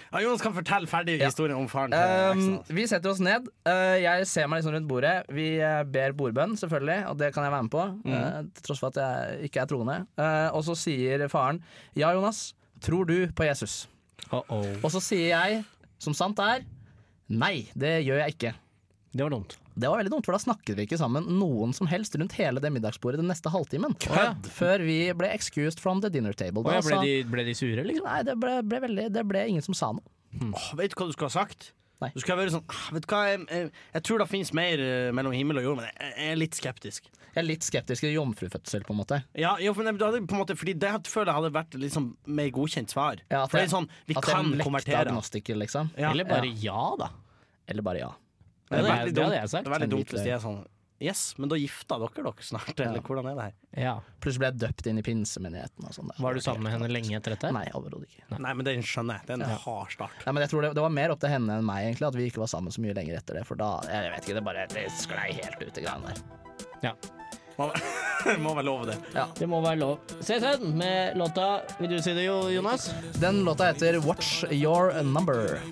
Speaker 3: Ja, Jonas kan fortelle ferdig
Speaker 4: Ja.
Speaker 3: historien om faren til
Speaker 7: Ehm,
Speaker 4: Um,
Speaker 3: eksen.
Speaker 7: altså.
Speaker 3: hans.
Speaker 4: vi setter oss ned. Uh, jeg ser meg liksom rundt bordet. Vi eh, ber bordbønn, selvfølgelig, og det kan jeg være med på.
Speaker 7: Mhm.
Speaker 4: eh, til tross for at jeg ikke er troende. Eh, og så sier faren Ja, Jonas, tror du på Jesus? Og så sier jeg, som sant er, nei, det gjør jeg ikke.
Speaker 5: Det var dumt.
Speaker 4: Det var veldig dumt, for da snakket vi ikke sammen noen som helst rundt hele det middagsbordet den neste halvtimen. Før vi ble excused from the dinner table.
Speaker 5: Og
Speaker 4: Da
Speaker 5: ja, ble,
Speaker 4: sa-
Speaker 5: de, ble de sure, liksom?
Speaker 4: Nei, det ble, ble veldig, det ble ingen som sa noe.
Speaker 3: Åh, vet du hva du skulle ha sagt?
Speaker 4: Nei.
Speaker 3: Du skulle ha vært sånn «Ah, Vet du hva, jeg, jeg, jeg tror det finnes mer eh, mellom himmel og jord, men jeg, jeg er litt skeptisk.
Speaker 4: Jeg er litt skeptisk til jomfrufødsel, på en måte.
Speaker 3: Ja, jo, men du hadde på en måte Fordi det hadde- føler jeg hadde vært liksom mer godkjent svar.
Speaker 4: Ja, at
Speaker 3: For
Speaker 4: jeg-
Speaker 3: det er sånn, vi
Speaker 4: At det er en
Speaker 3: kan
Speaker 4: lekte
Speaker 3: konvertere.
Speaker 4: agnostiker, liksom.
Speaker 3: Ja.
Speaker 5: Eller bare ja, da.
Speaker 4: Eller bare ja.
Speaker 5: Det,
Speaker 3: Det er
Speaker 5: det,
Speaker 3: veldig
Speaker 5: det
Speaker 3: dumt.
Speaker 5: hadde jeg
Speaker 3: Det
Speaker 5: sagt.
Speaker 3: er veldig
Speaker 4: En
Speaker 3: dumt
Speaker 4: hvit
Speaker 3: hvis de
Speaker 4: løgn.
Speaker 3: er sånn Yes, men da gifter dere dere snart, eller hvordan er det her?
Speaker 5: Ja.
Speaker 4: Plutselig ble jeg døpt inn i pinsemenigheten og sånn.
Speaker 5: Var du sammen med henne lenge etter dette?
Speaker 4: Nei, overhodet ikke.
Speaker 3: Nei, men den skjønner jeg. Det er en hard start.
Speaker 4: Nei, men jeg tror det, det var mer opp til henne enn meg, egentlig, at vi ikke var sammen så mye lenger etter det. For da Jeg vet ikke, det bare det sklei helt ut, de greiene der.
Speaker 3: Må, (laughs) må vel love det.
Speaker 5: Det må være lov. Se sen med låta Vil du si det, Jo- Jonas?
Speaker 4: Den låta heter Watch Your Number.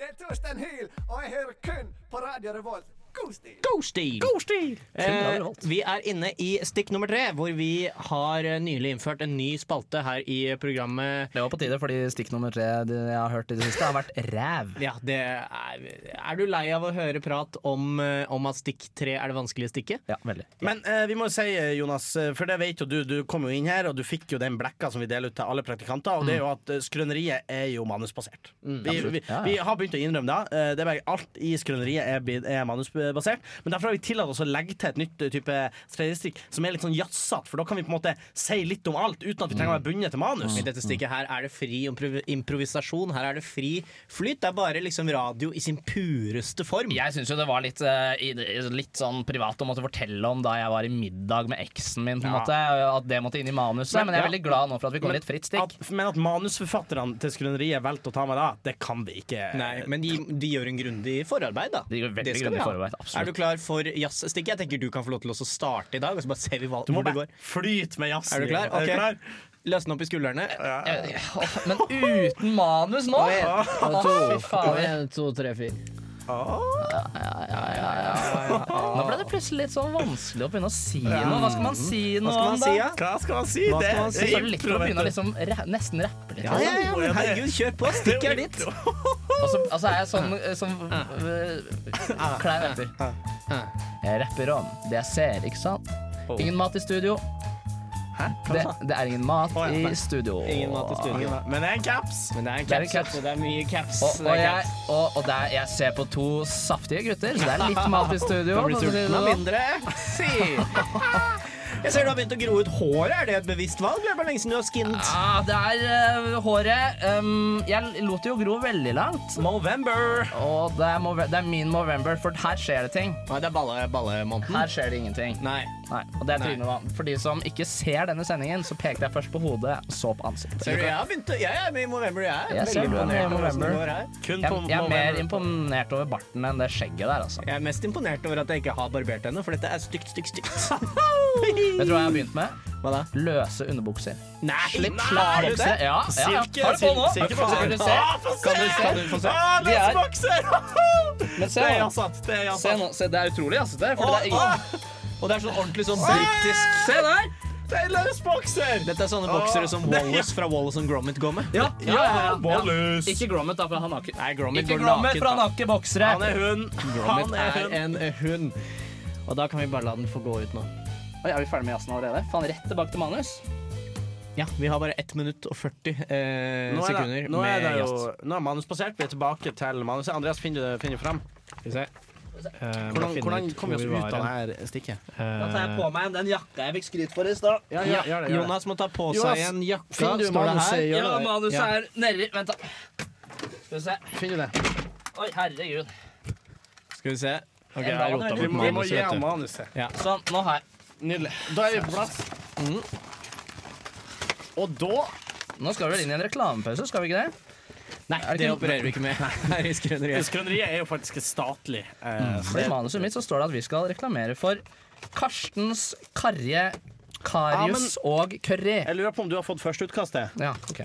Speaker 8: Det er Torstein Hyl, og jeg hører kun på Radio Revolt. God stil!
Speaker 5: Ghosty! Eh, vi er inne i stikk nummer tre, hvor vi har eh, nylig innført en ny spalte her i programmet.
Speaker 4: Det var på tide, fordi stikk nummer tre det jeg har hørt i det siste, har vært ræv.
Speaker 5: Ja, det er, er du lei av å høre prat om, eh, om at stikk tre er det vanskelige stikket?
Speaker 4: Ja, veldig.
Speaker 3: Men eh, vi må jo si, eh, Jonas, eh, for det vet jo du, du kom jo inn her, og du fikk jo den blekka som vi deler ut til alle praktikanter, og
Speaker 5: Mm.
Speaker 3: det er jo at eh, skrøneriet er jo manusbasert. vi, vi,
Speaker 4: Ja, ja.
Speaker 3: vi har begynt å innrømme det. eh, det er bare Alt i skrøneriet er, blitt- er manusbasert, men derfor har vi tillatt oss å legge til et nytt eh, type statistikk som er litt sånn jazzete, for da kan vi på en måte si litt om alt uten at vi trenger å være bundet til manus.
Speaker 5: Mm. I dette stikket her er det fri improv- improvisasjon, her er det fri flyt. Det er bare liksom radio i sin pureste form.
Speaker 4: Jeg syns jo det var litt, eh, i- i- litt sånn privat å måtte fortelle om da jeg var i middag med eksen min, på en
Speaker 5: Ja.
Speaker 4: måte. At det måtte inn i manuset. Men jeg er
Speaker 3: ja.
Speaker 4: veldig glad nå for at vi går litt fritt stikk.
Speaker 3: At, men at manusforfatterne til skrøneriet valgte å ta med det, det kan vi ikke.
Speaker 5: Nei, men de, de gjør en grundig forarbeid, da.
Speaker 4: De gjør veldig
Speaker 5: Det skal vi
Speaker 4: grundig
Speaker 5: ha.
Speaker 4: forarbeid, absolutt.
Speaker 5: Er du klar for jazzstikket? Jeg tenker du kan få lov til å starte i dag, og så bare ser vi hva,
Speaker 3: Du må
Speaker 5: hvor det
Speaker 3: bare
Speaker 5: går.
Speaker 3: flyte med jazzen.
Speaker 5: Er du klar?
Speaker 3: Er du
Speaker 5: Ok.
Speaker 3: klar?
Speaker 5: Løsne opp i skuldrene.
Speaker 4: Jeg- åh, Men uten manus nå! Å, fy faen.
Speaker 5: to, tre, fire.
Speaker 4: Nå ble det plutselig litt sånn vanskelig å begynne å si noe. Hva skal man si nå?
Speaker 5: Hva skal man si, ja?
Speaker 3: Hva skal man si?
Speaker 5: Hva skal man si?
Speaker 4: Så er det litt for å begynne å liksom ra nesten rappe litt.
Speaker 5: Ja, ja, ja, men herregud, kjør på. Stikket er ditt.
Speaker 4: (laughs) Og så og så er jeg sånn, eh, sånn eh, klein rapper. Jeg Eh, rapper om det jeg ser, ikke sant?
Speaker 5: Oh.
Speaker 4: Ingen mat i studio. Det, det er ingen mat
Speaker 3: Å, ja,
Speaker 4: i
Speaker 3: nei.
Speaker 4: studio.
Speaker 5: Ingen mat i studio.
Speaker 3: Men det er en caps.
Speaker 5: Men det er en
Speaker 4: Det er
Speaker 5: caps.
Speaker 4: en caps.
Speaker 5: altså. Det er mye caps.
Speaker 4: Og,
Speaker 5: Det
Speaker 4: og,
Speaker 5: er
Speaker 4: jeg,
Speaker 5: caps.
Speaker 4: og, og der, jeg ser på to saftige gutter, så det er litt mat
Speaker 5: (laughs)
Speaker 4: i studio.
Speaker 5: Da blir
Speaker 4: for å si det
Speaker 5: sulten av
Speaker 4: sånn.
Speaker 5: mindre. Si. Jeg ser du har begynt å gro ut håret. Er det et bevisst valg? Det er bare lenge siden du har skinnet.
Speaker 4: Ah, det er eh, håret ehm, Jeg lot det jo gro veldig langt.
Speaker 3: Movember.
Speaker 4: Og det er, move- det er min Movember, for her skjer det ting.
Speaker 5: Nei, det er balle- ballemåneden.
Speaker 4: Her skjer det ingenting.
Speaker 5: Nei.
Speaker 4: Nei, og det er
Speaker 5: Nei.
Speaker 4: trynet da. For de som ikke ser denne sendingen, så pekte jeg først på hodet og så på ansiktet.
Speaker 5: Ser du, jeg har begynt å Jeg er med i Movember, jeg.
Speaker 4: Jeg
Speaker 5: er
Speaker 4: ser
Speaker 5: veldig
Speaker 4: du er med
Speaker 5: imponert
Speaker 4: i
Speaker 5: over hvordan det går her.
Speaker 3: Kun
Speaker 4: Jeg,
Speaker 3: på
Speaker 4: jeg er mer
Speaker 3: Movember.
Speaker 4: imponert over barten enn det skjegget der, altså.
Speaker 5: Jeg er mest imponert over at jeg ikke har barbert henne, for dette er stygt, stygt, stygt.
Speaker 4: Vet du hva jeg har begynt med?
Speaker 5: Hva da?
Speaker 4: Løse underbukser.
Speaker 5: Nei,
Speaker 4: Slipp
Speaker 5: nei, er du
Speaker 4: slagbukser.
Speaker 5: det?
Speaker 4: Ja, ja, ja.
Speaker 3: Silke,
Speaker 4: Har du på nå?
Speaker 3: sil- silke-
Speaker 4: Kan du se? Kan du se?
Speaker 5: Kan du Ah, få se?
Speaker 3: Ah,
Speaker 4: De er-
Speaker 3: løsbokser!
Speaker 4: Men
Speaker 3: Det
Speaker 4: se
Speaker 3: er
Speaker 4: nå.
Speaker 3: jazzat. Det er
Speaker 4: Se
Speaker 3: jazzat.
Speaker 4: nå. Se, det er utrolig, altså. Det er, fordi det er
Speaker 5: Åh,
Speaker 4: ingen...
Speaker 5: åh. Og det er sånn ordentlig sånn britisk
Speaker 4: Se der!
Speaker 3: Det er løsbokser!
Speaker 5: Dette er sånne boksere som Wallace fra Wallace and Gromit går med.
Speaker 4: Ja, ja, ja, ja.
Speaker 3: Bollus.
Speaker 4: Ikke Grommet, da, for han har ikke
Speaker 5: Nei, Gromit
Speaker 4: Ikke
Speaker 5: går
Speaker 4: Grommet,
Speaker 5: naken,
Speaker 4: for han har ikke boksere.
Speaker 3: Han er hund.
Speaker 5: Gromit
Speaker 3: Han er
Speaker 5: er
Speaker 3: hund.
Speaker 5: en hund. Og da kan vi bare la den få gå ut nå.
Speaker 4: Oi, er vi ferdig med jazzen allerede? Faen, rett tilbake til manus.
Speaker 5: Ja, vi har bare 1 minutt og 40 eh,
Speaker 3: Nå er, det,
Speaker 5: sekunder
Speaker 3: nå, er
Speaker 5: med
Speaker 3: det jo,
Speaker 5: jazz.
Speaker 3: nå er manusbasert. Vi er tilbake til manuset. Andreas, finner du finner fram?
Speaker 5: Skal vi se. Eh, må
Speaker 3: Hvordan,
Speaker 5: finne
Speaker 3: hvordan
Speaker 5: ut
Speaker 3: kommer vi
Speaker 5: hvor
Speaker 3: oss ut av
Speaker 5: var
Speaker 3: det her stikket?
Speaker 5: hen.
Speaker 4: Da tar jeg på meg den jakka jeg fikk skryt for i stad.
Speaker 5: Ja,
Speaker 3: Ja, gjør- gjør det, gjør det.
Speaker 5: Jonas må ta på
Speaker 3: Jonas,
Speaker 5: seg en jakka.
Speaker 3: finner du
Speaker 5: står det
Speaker 3: manuset
Speaker 5: her?
Speaker 3: i
Speaker 4: Ja,
Speaker 3: Gjør det.
Speaker 4: manuset
Speaker 5: Ja.
Speaker 4: er nedi. Vent, da. Skal vi se.
Speaker 3: Finner du det?
Speaker 4: Oi, herregud.
Speaker 5: Skal vi se. Ok, jeg
Speaker 4: da
Speaker 5: har rota
Speaker 4: hadde
Speaker 3: Vi
Speaker 5: bort
Speaker 3: må, vi må
Speaker 5: manuset,
Speaker 3: gi ham
Speaker 5: vet du.
Speaker 3: manuset.
Speaker 4: Sånn, nå har jeg.
Speaker 3: Nydelig. Da er vi på plass. Og da
Speaker 4: Nå skal vi vel inn i en reklamepause, skal vi ikke det?
Speaker 5: Nei,
Speaker 4: Er det
Speaker 5: det
Speaker 4: ikke-
Speaker 5: opererer vi ikke med her i Skrøneriet.
Speaker 3: Skrøneriet er jo faktisk statlig. Eh, så
Speaker 4: For I
Speaker 3: det-
Speaker 4: manuset mitt så står det at vi skal reklamere for Karstens Karje, Karius og Curry.
Speaker 3: jeg lurer på om du har fått førsteutkastet?
Speaker 4: Ja, ok.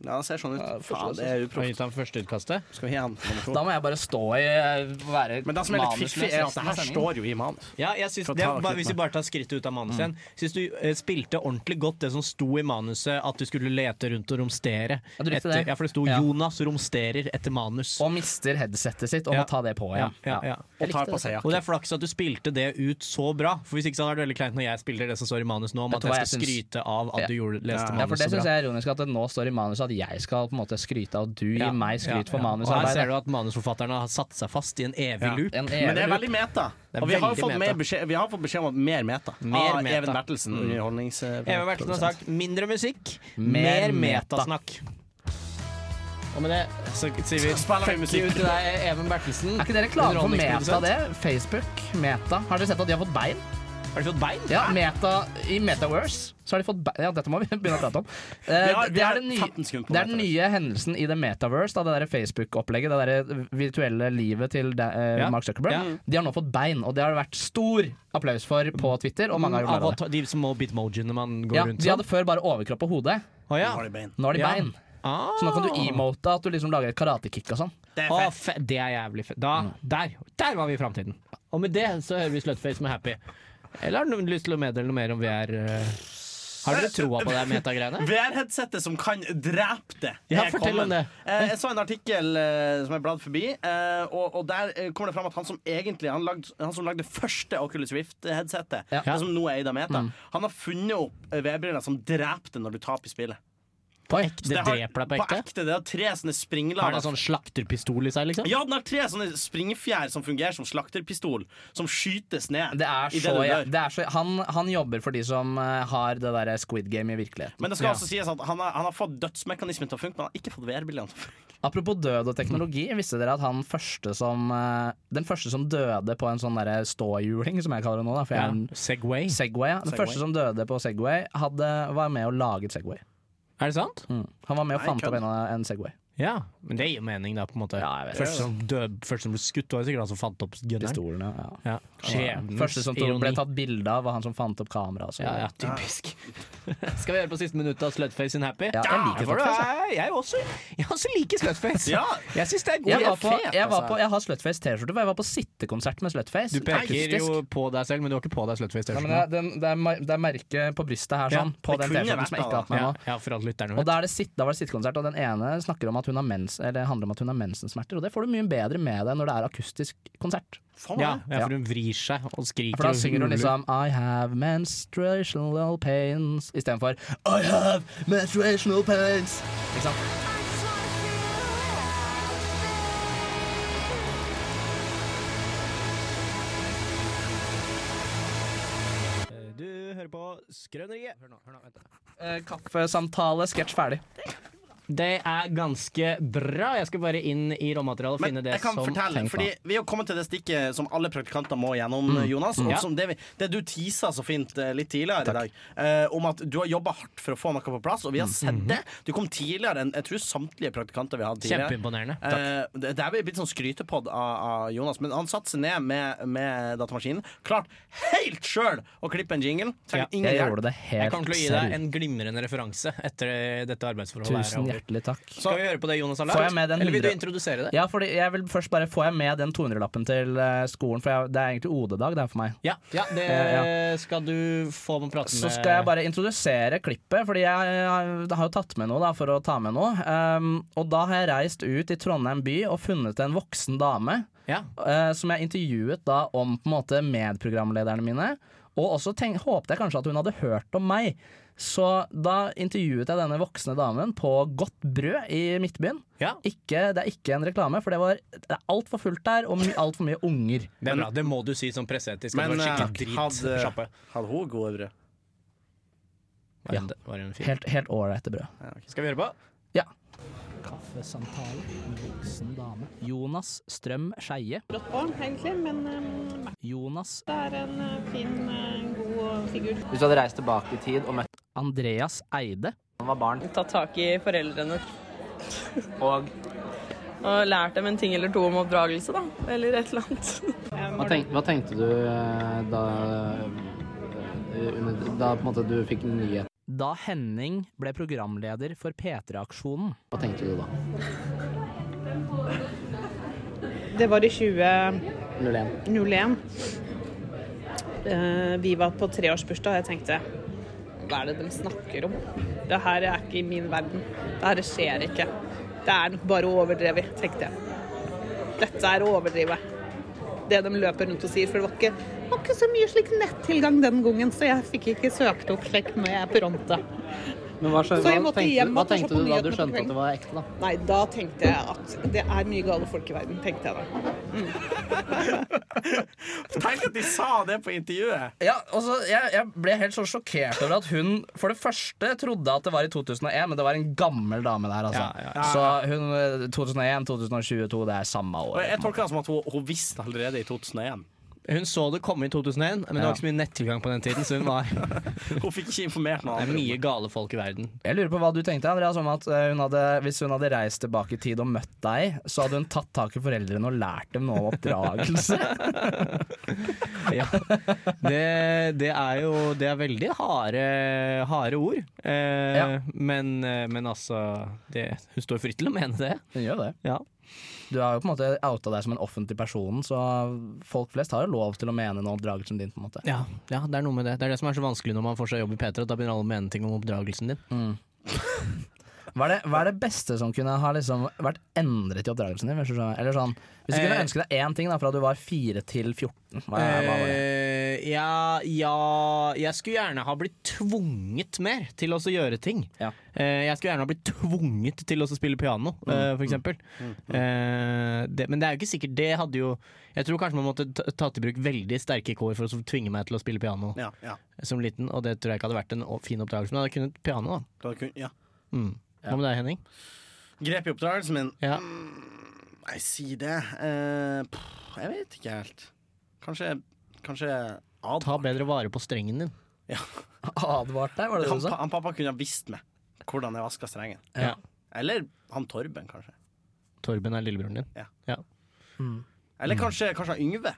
Speaker 3: Ja, det ser sånn ut.
Speaker 4: Ja,
Speaker 3: Faen, det er
Speaker 5: Har vi
Speaker 3: uproft.
Speaker 5: gitt ham førsteutkastet?
Speaker 3: Skal vi gi han
Speaker 4: Da må jeg bare stå i eh, være
Speaker 3: Men det som er litt
Speaker 4: manusløs
Speaker 3: fiffig, er at
Speaker 4: resten
Speaker 3: det
Speaker 4: av
Speaker 3: her
Speaker 4: sendingen.
Speaker 3: står jo i manus.
Speaker 5: Ja, jeg synes,
Speaker 3: For å
Speaker 5: det,
Speaker 3: ta
Speaker 5: er
Speaker 3: det
Speaker 5: bare,
Speaker 3: litt
Speaker 5: Hvis vi bare tar skrittet ut av manuset igjen. Syns du eh, spilte ordentlig godt det som sto i manuset, at du skulle lete rundt og romstere?
Speaker 4: Ja, du
Speaker 5: etter,
Speaker 4: likte det.
Speaker 5: ja, for det sto
Speaker 4: Ja.
Speaker 5: 'Jonas romsterer etter manus'.
Speaker 4: Og mister headsetet sitt og
Speaker 5: Ja.
Speaker 4: må ta det på igjen.
Speaker 5: Ja, ja.
Speaker 4: Jeg
Speaker 3: Og tar
Speaker 4: likte
Speaker 3: på
Speaker 4: det.
Speaker 3: seg
Speaker 5: Og
Speaker 3: jakken.
Speaker 5: det er flaks at du spilte det ut så bra, for hvis ikke så hadde det vært veldig kleint når jeg spiller det som står i manus nå, om
Speaker 4: Vet
Speaker 5: at
Speaker 4: du hva
Speaker 5: jeg skal
Speaker 4: jeg syns?
Speaker 5: skryte av at
Speaker 4: Ja.
Speaker 5: du gjorde, leste
Speaker 4: Ja, for
Speaker 5: manus
Speaker 4: Det
Speaker 5: så
Speaker 4: syns
Speaker 5: bra.
Speaker 4: jeg er ironisk at det nå står i manuset at jeg skal på en måte skryte av at du gir
Speaker 5: Ja,
Speaker 4: meg skryt
Speaker 5: ja,
Speaker 4: for
Speaker 5: ja. Og her ser
Speaker 4: manusarbeidet.
Speaker 5: du at manusforfatterne har satt seg fast i en evig
Speaker 3: Ja.
Speaker 5: loop.
Speaker 4: En
Speaker 3: Men det er
Speaker 4: evig-
Speaker 3: veldig meta.
Speaker 5: Det er
Speaker 3: Og vi har, jo
Speaker 5: veldig
Speaker 3: fått mer
Speaker 5: meta.
Speaker 3: beskjed, vi har fått beskjed om at mer meta.
Speaker 5: Mer
Speaker 3: av
Speaker 5: meta.
Speaker 3: Even Bertelsen, underholdnings...
Speaker 5: Even Bertelsen har sagt 'mindre musikk,
Speaker 4: Mer
Speaker 5: mer
Speaker 4: meta».
Speaker 5: metasnakk'. Og med det så sier vi
Speaker 3: Spiller vi
Speaker 5: fuck
Speaker 3: musikk?
Speaker 5: you til deg, Even Bertelsen.
Speaker 4: Er ikke det reklame for Meta,
Speaker 5: underholdningsprodusent.
Speaker 4: det? Facebook, Meta. Har dere sett at de har fått bein?
Speaker 5: Har du fått bein?
Speaker 4: Ja, meta, I Metaverse så har de fått bein. Ja, dette må vi (laughs) begynne å prate om. Eh,
Speaker 3: har- vi
Speaker 4: det
Speaker 3: har
Speaker 4: er den nye,
Speaker 3: 15 sekunder på
Speaker 4: det er den nye hendelsen i The Metaverse, da, det der Facebook-opplegget. Det der virtuelle livet til de, eh,
Speaker 5: Ja.
Speaker 4: Mark Zuckerberg.
Speaker 5: Ja.
Speaker 4: De har nå fått bein, og det har det vært stor applaus for på Twitter. Og mange har jo
Speaker 5: Mm.
Speaker 4: glad
Speaker 5: Av
Speaker 4: av
Speaker 5: å
Speaker 4: det.
Speaker 5: ta- de små bitmojiene man går
Speaker 4: Ja,
Speaker 5: rundt
Speaker 4: de hadde før bare overkropp og hode.
Speaker 5: Å, ja.
Speaker 3: Har de bein?
Speaker 4: Nå har de
Speaker 5: Ja.
Speaker 4: bein.
Speaker 5: Ah.
Speaker 4: Så nå kan du emote at du liksom lager et karatekick og sånn.
Speaker 3: Det er
Speaker 5: Å,
Speaker 3: fett.
Speaker 5: fe det er jævlig fett. Da, der, der var vi i framtiden. Og med det så hører vi Slutface med Happy. Eller har du lyst til å meddele noe mer om VR? eh? Har dere troa på det metagreiene?
Speaker 3: VR-headsetet som kan drepe det.
Speaker 5: Ja,
Speaker 3: er
Speaker 5: fortell om
Speaker 3: kommet.
Speaker 5: det.
Speaker 3: Eh, jeg så en artikkel eh, som jeg bladd forbi, eh, og, og der eh, kommer det fram at han som egentlig Han, lagde, han som lagde det første Oculus Rift-headsetet,
Speaker 4: Ja.
Speaker 3: det som nå er Ida Meta,
Speaker 4: Mm.
Speaker 3: han har funnet opp eh, VR-briller som dreper det når du taper spillet.
Speaker 5: På ekte?
Speaker 3: Så
Speaker 5: Det
Speaker 3: har-
Speaker 5: dreper deg på ekte?
Speaker 3: Det har tre
Speaker 5: Har
Speaker 3: sånne springlader.
Speaker 5: den sånn slakterpistol i seg, liksom?
Speaker 3: Ja, den har tre sånne springfjær som fungerer som slakterpistol, som skytes ned.
Speaker 4: Det er
Speaker 3: i
Speaker 4: så,
Speaker 3: du
Speaker 4: ja,
Speaker 3: dør.
Speaker 4: det er så han, han jobber for de som eh, har det derre Squid Game i virkeligheten.
Speaker 3: Men det skal
Speaker 5: Ja.
Speaker 3: også sies at han har, han har fått dødsmekanismen til å funke, men han har ikke fått VR-brillene til å funke.
Speaker 4: Apropos død og teknologi, visste dere at han første som eh, Den første som døde på en sånn derre ståhjuling, som jeg kaller det nå, da, for jeg er en
Speaker 5: Segway.
Speaker 4: Segway, ja. Den
Speaker 3: Segway.
Speaker 4: første som døde på Segway, hadde, var med og laget Segway.
Speaker 5: Er det sant?
Speaker 4: Mm. Han var med og
Speaker 3: Nei,
Speaker 4: fant opp
Speaker 3: kødd.
Speaker 4: en, en Segway.
Speaker 5: Ja. Men det gir jo mening, da, på en måte.
Speaker 4: Ja, jeg vet det.
Speaker 5: Først som, død, først som ble skutt, var det sikkert han som fant opp gunneren.
Speaker 4: Pistolen, ja. ja.
Speaker 5: Ja. Skjebnens
Speaker 4: Første som to,
Speaker 5: ironi.
Speaker 4: ble tatt bilde av, var han som fant opp kameraet.
Speaker 5: Ja, ja,
Speaker 4: (laughs)
Speaker 5: typisk. Skal vi høre på siste minutt av Slutface in Happy?
Speaker 4: Ja, jeg liker
Speaker 5: for det
Speaker 4: Slutface,
Speaker 5: er- Jeg også, jeg også liker
Speaker 4: (laughs)
Speaker 5: Slutface.
Speaker 3: Ja.
Speaker 5: Jeg syns det er god
Speaker 4: Jeg, var på,
Speaker 5: fet,
Speaker 4: jeg, var
Speaker 5: altså.
Speaker 4: på, jeg har Slutface T-skjorte, for jeg var på sittekonsert med Slutface.
Speaker 5: Du peker
Speaker 4: Akustisk.
Speaker 5: jo på deg selv, men du har ikke på deg Slutface.
Speaker 4: Nei, men det,
Speaker 5: T-skjorten.
Speaker 4: er- den, det, er, mer- det er merket på brystet her,
Speaker 5: Ja,
Speaker 4: sånn. på den
Speaker 3: det kunne
Speaker 4: T-skjorten
Speaker 3: vært
Speaker 4: som jeg ikke har hatt meg
Speaker 5: ja,
Speaker 4: nå.
Speaker 5: sånn. ja, for alle lytterne
Speaker 4: Og
Speaker 5: vet.
Speaker 4: da, er det sitt, da var det sittekonsert, og den ene snakker om at hun har mens, eller handler om at hun har mensensmerter. Og det får du mye bedre med deg når det er akustisk konsert.
Speaker 3: Faen,
Speaker 5: Ja,
Speaker 3: det.
Speaker 5: ja, for hun vrir seg og skriker.
Speaker 4: For da
Speaker 5: og
Speaker 4: synger hun
Speaker 5: huler.
Speaker 4: liksom I have menstruational pains istedenfor I have menstruational pains. Ikke sant?
Speaker 5: (laughs) Du hører på Skrøneriet. Hør nå, hør nå, vent da.
Speaker 4: Eh, Kaffesamtale, sketsj ferdig.
Speaker 5: Det er ganske bra. Jeg skal bare inn i råmaterialet og
Speaker 3: Men
Speaker 5: finne det
Speaker 3: jeg kan
Speaker 5: som
Speaker 3: fortelle,
Speaker 5: tenkt, da.
Speaker 3: fordi vi har kommet til det stikket som alle praktikanter må gjennom, Jonas.
Speaker 5: Mm.
Speaker 3: Og
Speaker 5: Ja.
Speaker 3: som det, vi, det du tisa så fint eh, litt tidligere i dag, eh, om at du har jobba hardt for å få noe på plass, og vi
Speaker 5: Mhm.
Speaker 3: har sett det. Du kom tidligere enn jeg tror samtlige praktikanter vi hadde tidligere.
Speaker 5: Kjempeimponerende.
Speaker 3: Eh, det det her blir blitt sånn skrytepod av, av Jonas, men han satte seg ned med, med datamaskinen. Klart helt sjøl å klippe en jingle.
Speaker 5: Ja,
Speaker 3: Trenger ingen
Speaker 4: Jeg
Speaker 3: hjelp.
Speaker 4: gjorde det
Speaker 5: Jeg
Speaker 4: helt
Speaker 5: kommer til å gi deg
Speaker 4: selv.
Speaker 5: en glimrende referanse etter dette arbeidsforholdet. er
Speaker 4: Tusen
Speaker 5: over.
Speaker 4: hjertelig takk.
Speaker 5: Skal vi høre på det Jonas har
Speaker 4: Får jeg med
Speaker 5: lagd?
Speaker 4: den
Speaker 5: Eller vil du
Speaker 4: 100
Speaker 5: introdusere det?
Speaker 4: Ja, fordi jeg vil først bare Får jeg med den 200-lappen til eh, skolen? For jeg, det er egentlig OD-dag det er for meg.
Speaker 5: Ja, ja det
Speaker 4: Eh,
Speaker 5: skal du få med å prate med
Speaker 4: Så skal jeg bare introdusere klippet, fordi jeg har- har jo tatt med noe da, for å ta med noe. Um, og da har jeg reist ut i Trondheim by og funnet en voksen dame
Speaker 5: ja.
Speaker 4: eh, som jeg intervjuet da om på en måte medprogramlederne mine. Og også tenk, håpte jeg kanskje at hun hadde hørt om meg. Så da intervjuet jeg denne voksne damen på Godt Brød i Midtbyen.
Speaker 5: ja.
Speaker 4: Ikke, det er ikke en reklame, for det, var, det er altfor fullt der, og my, altfor mye unger.
Speaker 5: Det er bra, det må du si som presseetisk. at
Speaker 3: Men,
Speaker 5: det var
Speaker 3: eh,
Speaker 5: skikkelig drit.
Speaker 3: hadde-
Speaker 5: Kjappe.
Speaker 3: Hadde hun gode brød?
Speaker 5: Var
Speaker 4: Ja.
Speaker 5: en- var en fin.
Speaker 4: Helt helt ålreite brød.
Speaker 5: Skal vi høre på?
Speaker 4: Kaffesamtale med voksen dame. Jonas Strøm Skeie.
Speaker 9: rått barn, egentlig, men um,
Speaker 4: Jonas
Speaker 9: Märtha er en eh, fin, eh, god figur.
Speaker 4: Hvis du hadde reist tilbake i tid og møtt Andreas Eide
Speaker 9: Ta tak i foreldrene.
Speaker 10: Og
Speaker 9: Og lært dem en ting eller to om oppdragelse, da. Eller et eller annet.
Speaker 10: hva, tenk, hva tenkte du eh, da, eh, under, da på en måte du fikk nyhet?
Speaker 4: Da Henning ble programleder for P3-aksjonen
Speaker 10: Hva tenkte du da?
Speaker 9: Det var i 2001.
Speaker 10: 01.
Speaker 9: Eh, Vi var på treårsbursdag, og jeg tenkte hva er det de snakker om? Det her er ikke i min verden. Det her skjer ikke. Det er nok bare overdrevet, tenkte jeg. Dette er å overdrive. Det de løper rundt og sier. For det var ikke, det var ikke så mye slik nettilgang den gangen, så jeg fikk ikke søkt opp slik med Pronta.
Speaker 10: Men hva, skjø-
Speaker 9: Så jeg
Speaker 10: hva,
Speaker 9: måtte
Speaker 10: tenkte,
Speaker 9: hjem
Speaker 10: hva
Speaker 9: og se
Speaker 10: tenkte du
Speaker 9: på
Speaker 10: da du
Speaker 9: nyhetene på
Speaker 10: skjønte at
Speaker 9: kvelden.
Speaker 10: det var ekte, da?
Speaker 9: Nei, da tenkte jeg at det er mye gale folk i verden, tenkte jeg da.
Speaker 3: Tenk at de sa det på intervjuet!
Speaker 4: Ja, altså, jeg, jeg ble helt så sjokkert over at hun for det første trodde at det var i 2001, men det var en gammel dame der, altså.
Speaker 5: Ja, ja,
Speaker 4: Så hun eh, 2001, 2022, det er samme
Speaker 3: Og
Speaker 4: år.
Speaker 3: jeg tolker det som at hun, hun visste allerede i 2001.
Speaker 5: Hun så det komme i 2001, men det var ikke så mye nettilgang på den tiden. Så hun var
Speaker 3: Hun fikk ikke informert noen
Speaker 5: Det er
Speaker 3: andre.
Speaker 5: mye gale folk i verden.
Speaker 4: Jeg lurer på hva du tenkte, Andreas, om at eh, hun hadde, hvis hun hadde reist tilbake i tid og møtt deg, så hadde hun tatt tak i foreldrene og lært dem noe om oppdragelse.
Speaker 5: (laughs) Det, det er jo Det er veldig harde, harde ord. Eh,
Speaker 4: Ja.
Speaker 5: men, eh, men altså det, Hun står fritt til å mene det.
Speaker 4: Hun gjør det.
Speaker 5: Ja.
Speaker 4: Du har jo på en måte outa deg som en offentlig person, så folk flest har jo lov til å mene noe om oppdragelsen din, på en måte.
Speaker 5: Ja, ja, det er noe med det. Det er det som er så vanskelig når man får seg jobb i P3, at da begynner alle å mene ting om oppdragelsen din.
Speaker 4: Hva er, det, hva er det beste som kunne ha liksom vært endret i oppdragelsen din? Hvis du, skjønner? eller sånn, hvis du kunne
Speaker 5: Eh.
Speaker 4: ønske deg én ting da, fra du var 4 til 14, hva, hva var (laughs) det?
Speaker 5: Eh, ja, ja Jeg skulle gjerne ha blitt tvunget mer til å så gjøre ting.
Speaker 4: Ja.
Speaker 5: Eh, jeg skulle gjerne ha blitt tvunget til å så spille piano, eh, for eksempel. Eh, det, men det er jo ikke sikkert. Det hadde jo Jeg tror kanskje man måtte ta- tatt i bruk veldig sterke kår for å så tvinge meg til å spille piano
Speaker 3: Ja, ja.
Speaker 5: som liten, og det tror jeg ikke hadde vært en å- fin oppdragelse. Men jeg hadde kunnet piano, da.
Speaker 3: Da kun- ja.
Speaker 5: Mm. Hva med deg, Henning?
Speaker 3: Grep i oppdragelsen min.
Speaker 5: Ja.
Speaker 3: Nei, si det. Eh, pff, jeg vet ikke helt. Kanskje Kanskje ad.
Speaker 5: Ta bedre vare på strengen din.
Speaker 4: Advart deg, var det det
Speaker 3: Han,
Speaker 4: du sa?
Speaker 3: pa- han pappa kunne ha visst meg hvordan jeg vaska strengen.
Speaker 5: Ja.
Speaker 3: Eller han Torben, kanskje.
Speaker 5: Torben er lillebroren din.
Speaker 3: Eller
Speaker 5: Mm.
Speaker 3: kanskje, kanskje han Yngve.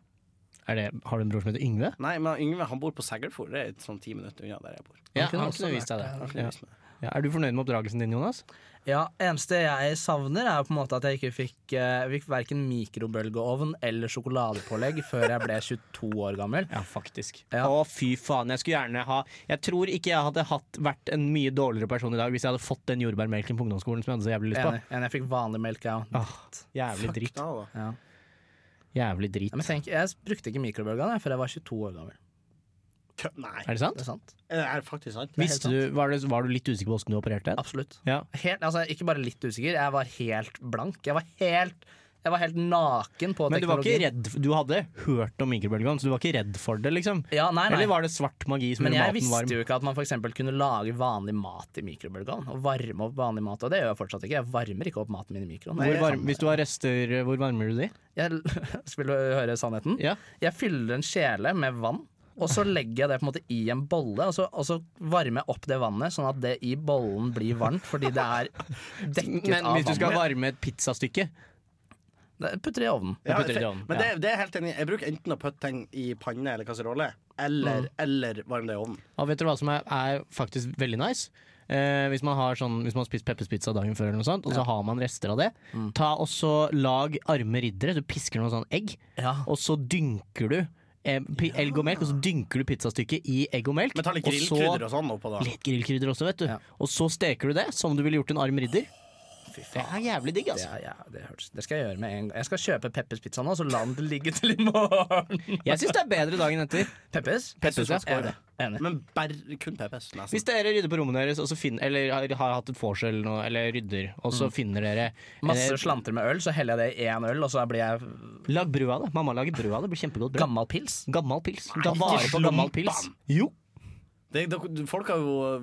Speaker 5: Er det, har du en bror som heter Yngve?
Speaker 3: Nei, men han Yngve han bor på Seglefjord. Det er sånn ti minutter unna der jeg bor.
Speaker 5: Ja,
Speaker 4: kunne
Speaker 5: han
Speaker 4: også
Speaker 5: kunne vist deg
Speaker 4: vært
Speaker 5: det.
Speaker 3: Han kunne
Speaker 5: Ja.
Speaker 3: vist meg.
Speaker 5: Ja, er du fornøyd med oppdragelsen din, Jonas?
Speaker 4: Ja, eneste jeg savner, er jo på en måte at jeg ikke fikk, eh, fikk verken mikrobølgeovn eller sjokoladepålegg før jeg ble 22 år gammel.
Speaker 5: Ja, faktisk.
Speaker 4: Ja.
Speaker 5: Å, fy faen. Jeg skulle gjerne ha Jeg tror ikke jeg hadde hatt, vært en mye dårligere person i dag hvis jeg hadde fått den jordbærmelken på ungdomsskolen som jeg hadde så jævlig lyst på.
Speaker 4: Enig. enig, jeg fikk vanlig melk, jeg òg.
Speaker 5: Åh, jævlig dritt.
Speaker 3: Ja, da.
Speaker 5: Jævlig
Speaker 4: Ja,
Speaker 5: dritt.
Speaker 4: men tenk, jeg brukte ikke mikrobølgeovn jeg, før jeg var 22 år gammel.
Speaker 3: Kø- Nei,
Speaker 5: Er det sant?
Speaker 4: Det er sant?
Speaker 3: det er faktisk sant.
Speaker 4: er helt
Speaker 5: Visste du, var, det, var du litt usikker på åssen du opererte?
Speaker 4: Absolutt.
Speaker 5: Ja.
Speaker 4: Helt, altså, ikke bare litt usikker, jeg var helt blank. Jeg var helt, jeg var helt naken på
Speaker 5: Men du var
Speaker 4: teknologi.
Speaker 5: ikke redd f- Du hadde hørt om mikrobølgeovn, så du var ikke redd for det, liksom?
Speaker 4: Ja, nei, nei.
Speaker 5: Eller var det svart magi som
Speaker 4: Men
Speaker 5: gjorde
Speaker 4: jeg
Speaker 5: maten varm?
Speaker 4: visste jo ikke at man for eksempel kunne lage vanlig mat i mikrobølgeovn. Og varme opp vanlig mat. Og det gjør jeg fortsatt ikke. Jeg varmer ikke opp maten min i mikroen.
Speaker 5: Hvor
Speaker 4: Jeg-
Speaker 5: varm, hvis du har rester, eh, hvor varmer du de?
Speaker 4: Jeg, (laughs) skal du høre sannheten?
Speaker 5: Ja.
Speaker 4: Jeg fyller en kjele med vann, og så legger jeg det på en måte i en bolle. Og så, og så varmer jeg opp det vannet, sånn at det i bollen blir varmt, fordi det
Speaker 5: (laughs)
Speaker 4: er dekket
Speaker 5: Men
Speaker 4: av
Speaker 5: hvis du skal
Speaker 4: vannet.
Speaker 5: varme et pizzastykke
Speaker 4: Det Putter det i ovnen.
Speaker 5: Jeg
Speaker 3: Ja,
Speaker 5: putter
Speaker 3: for-
Speaker 5: det i ovnen,
Speaker 3: men
Speaker 5: ja.
Speaker 3: det, det er jeg helt enig. i. Jeg bruker enten å putte ting i panne eller kasserolle, eller,
Speaker 5: Mm.
Speaker 3: eller varme det i ovnen.
Speaker 5: Og vet dere hva som er, er faktisk veldig nice? Eh, hvis, man har sånn, hvis man har spist Peppers pizza dagen før, eller noe sånt, og så har man rester av det, Ta og så lag arme riddere. Du pisker noen sånn egg,
Speaker 4: Ja.
Speaker 5: og så dynker du eh, pi- egg og melk. Og så dynker du pizzastykket i egg og melk.
Speaker 3: Men ta litt
Speaker 5: og så-
Speaker 3: grillkrydder og sånn oppå, da.
Speaker 5: Litt grillkrydder også, vet du.
Speaker 4: Ja.
Speaker 5: Og så steker du det som du ville gjort en arm ridder. Det er jævlig digg,
Speaker 4: Det,
Speaker 5: altså.
Speaker 4: er- ja, det, hørtes- det skal jeg gjøre med en gang. Jeg skal kjøpe Peppers pizza nå, så la den ligge til i morgen. (laughs)
Speaker 5: Jeg syns det er bedre dagen etter.
Speaker 4: Peppers?
Speaker 5: Peppers, ja.
Speaker 4: Enig. Enig.
Speaker 3: Men bare kun PPS. nesten.
Speaker 5: Hvis dere rydder på rommene deres, og så finner, eller har, har hatt et vorspiel eller noe, eller rydder, og så finner dere
Speaker 4: Masse
Speaker 5: eh,
Speaker 4: slanter med øl, så heller jeg det i én øl, og så blir jeg
Speaker 5: Lag brød av det. Mamma lager brød av det. Det blir kjempegodt brød.
Speaker 4: gammal pils.
Speaker 5: Gammal pils. Ta
Speaker 3: ikke
Speaker 5: vare på
Speaker 3: slump
Speaker 5: gammal pils.
Speaker 3: han.
Speaker 5: Jo.
Speaker 3: Det, det, folk har jo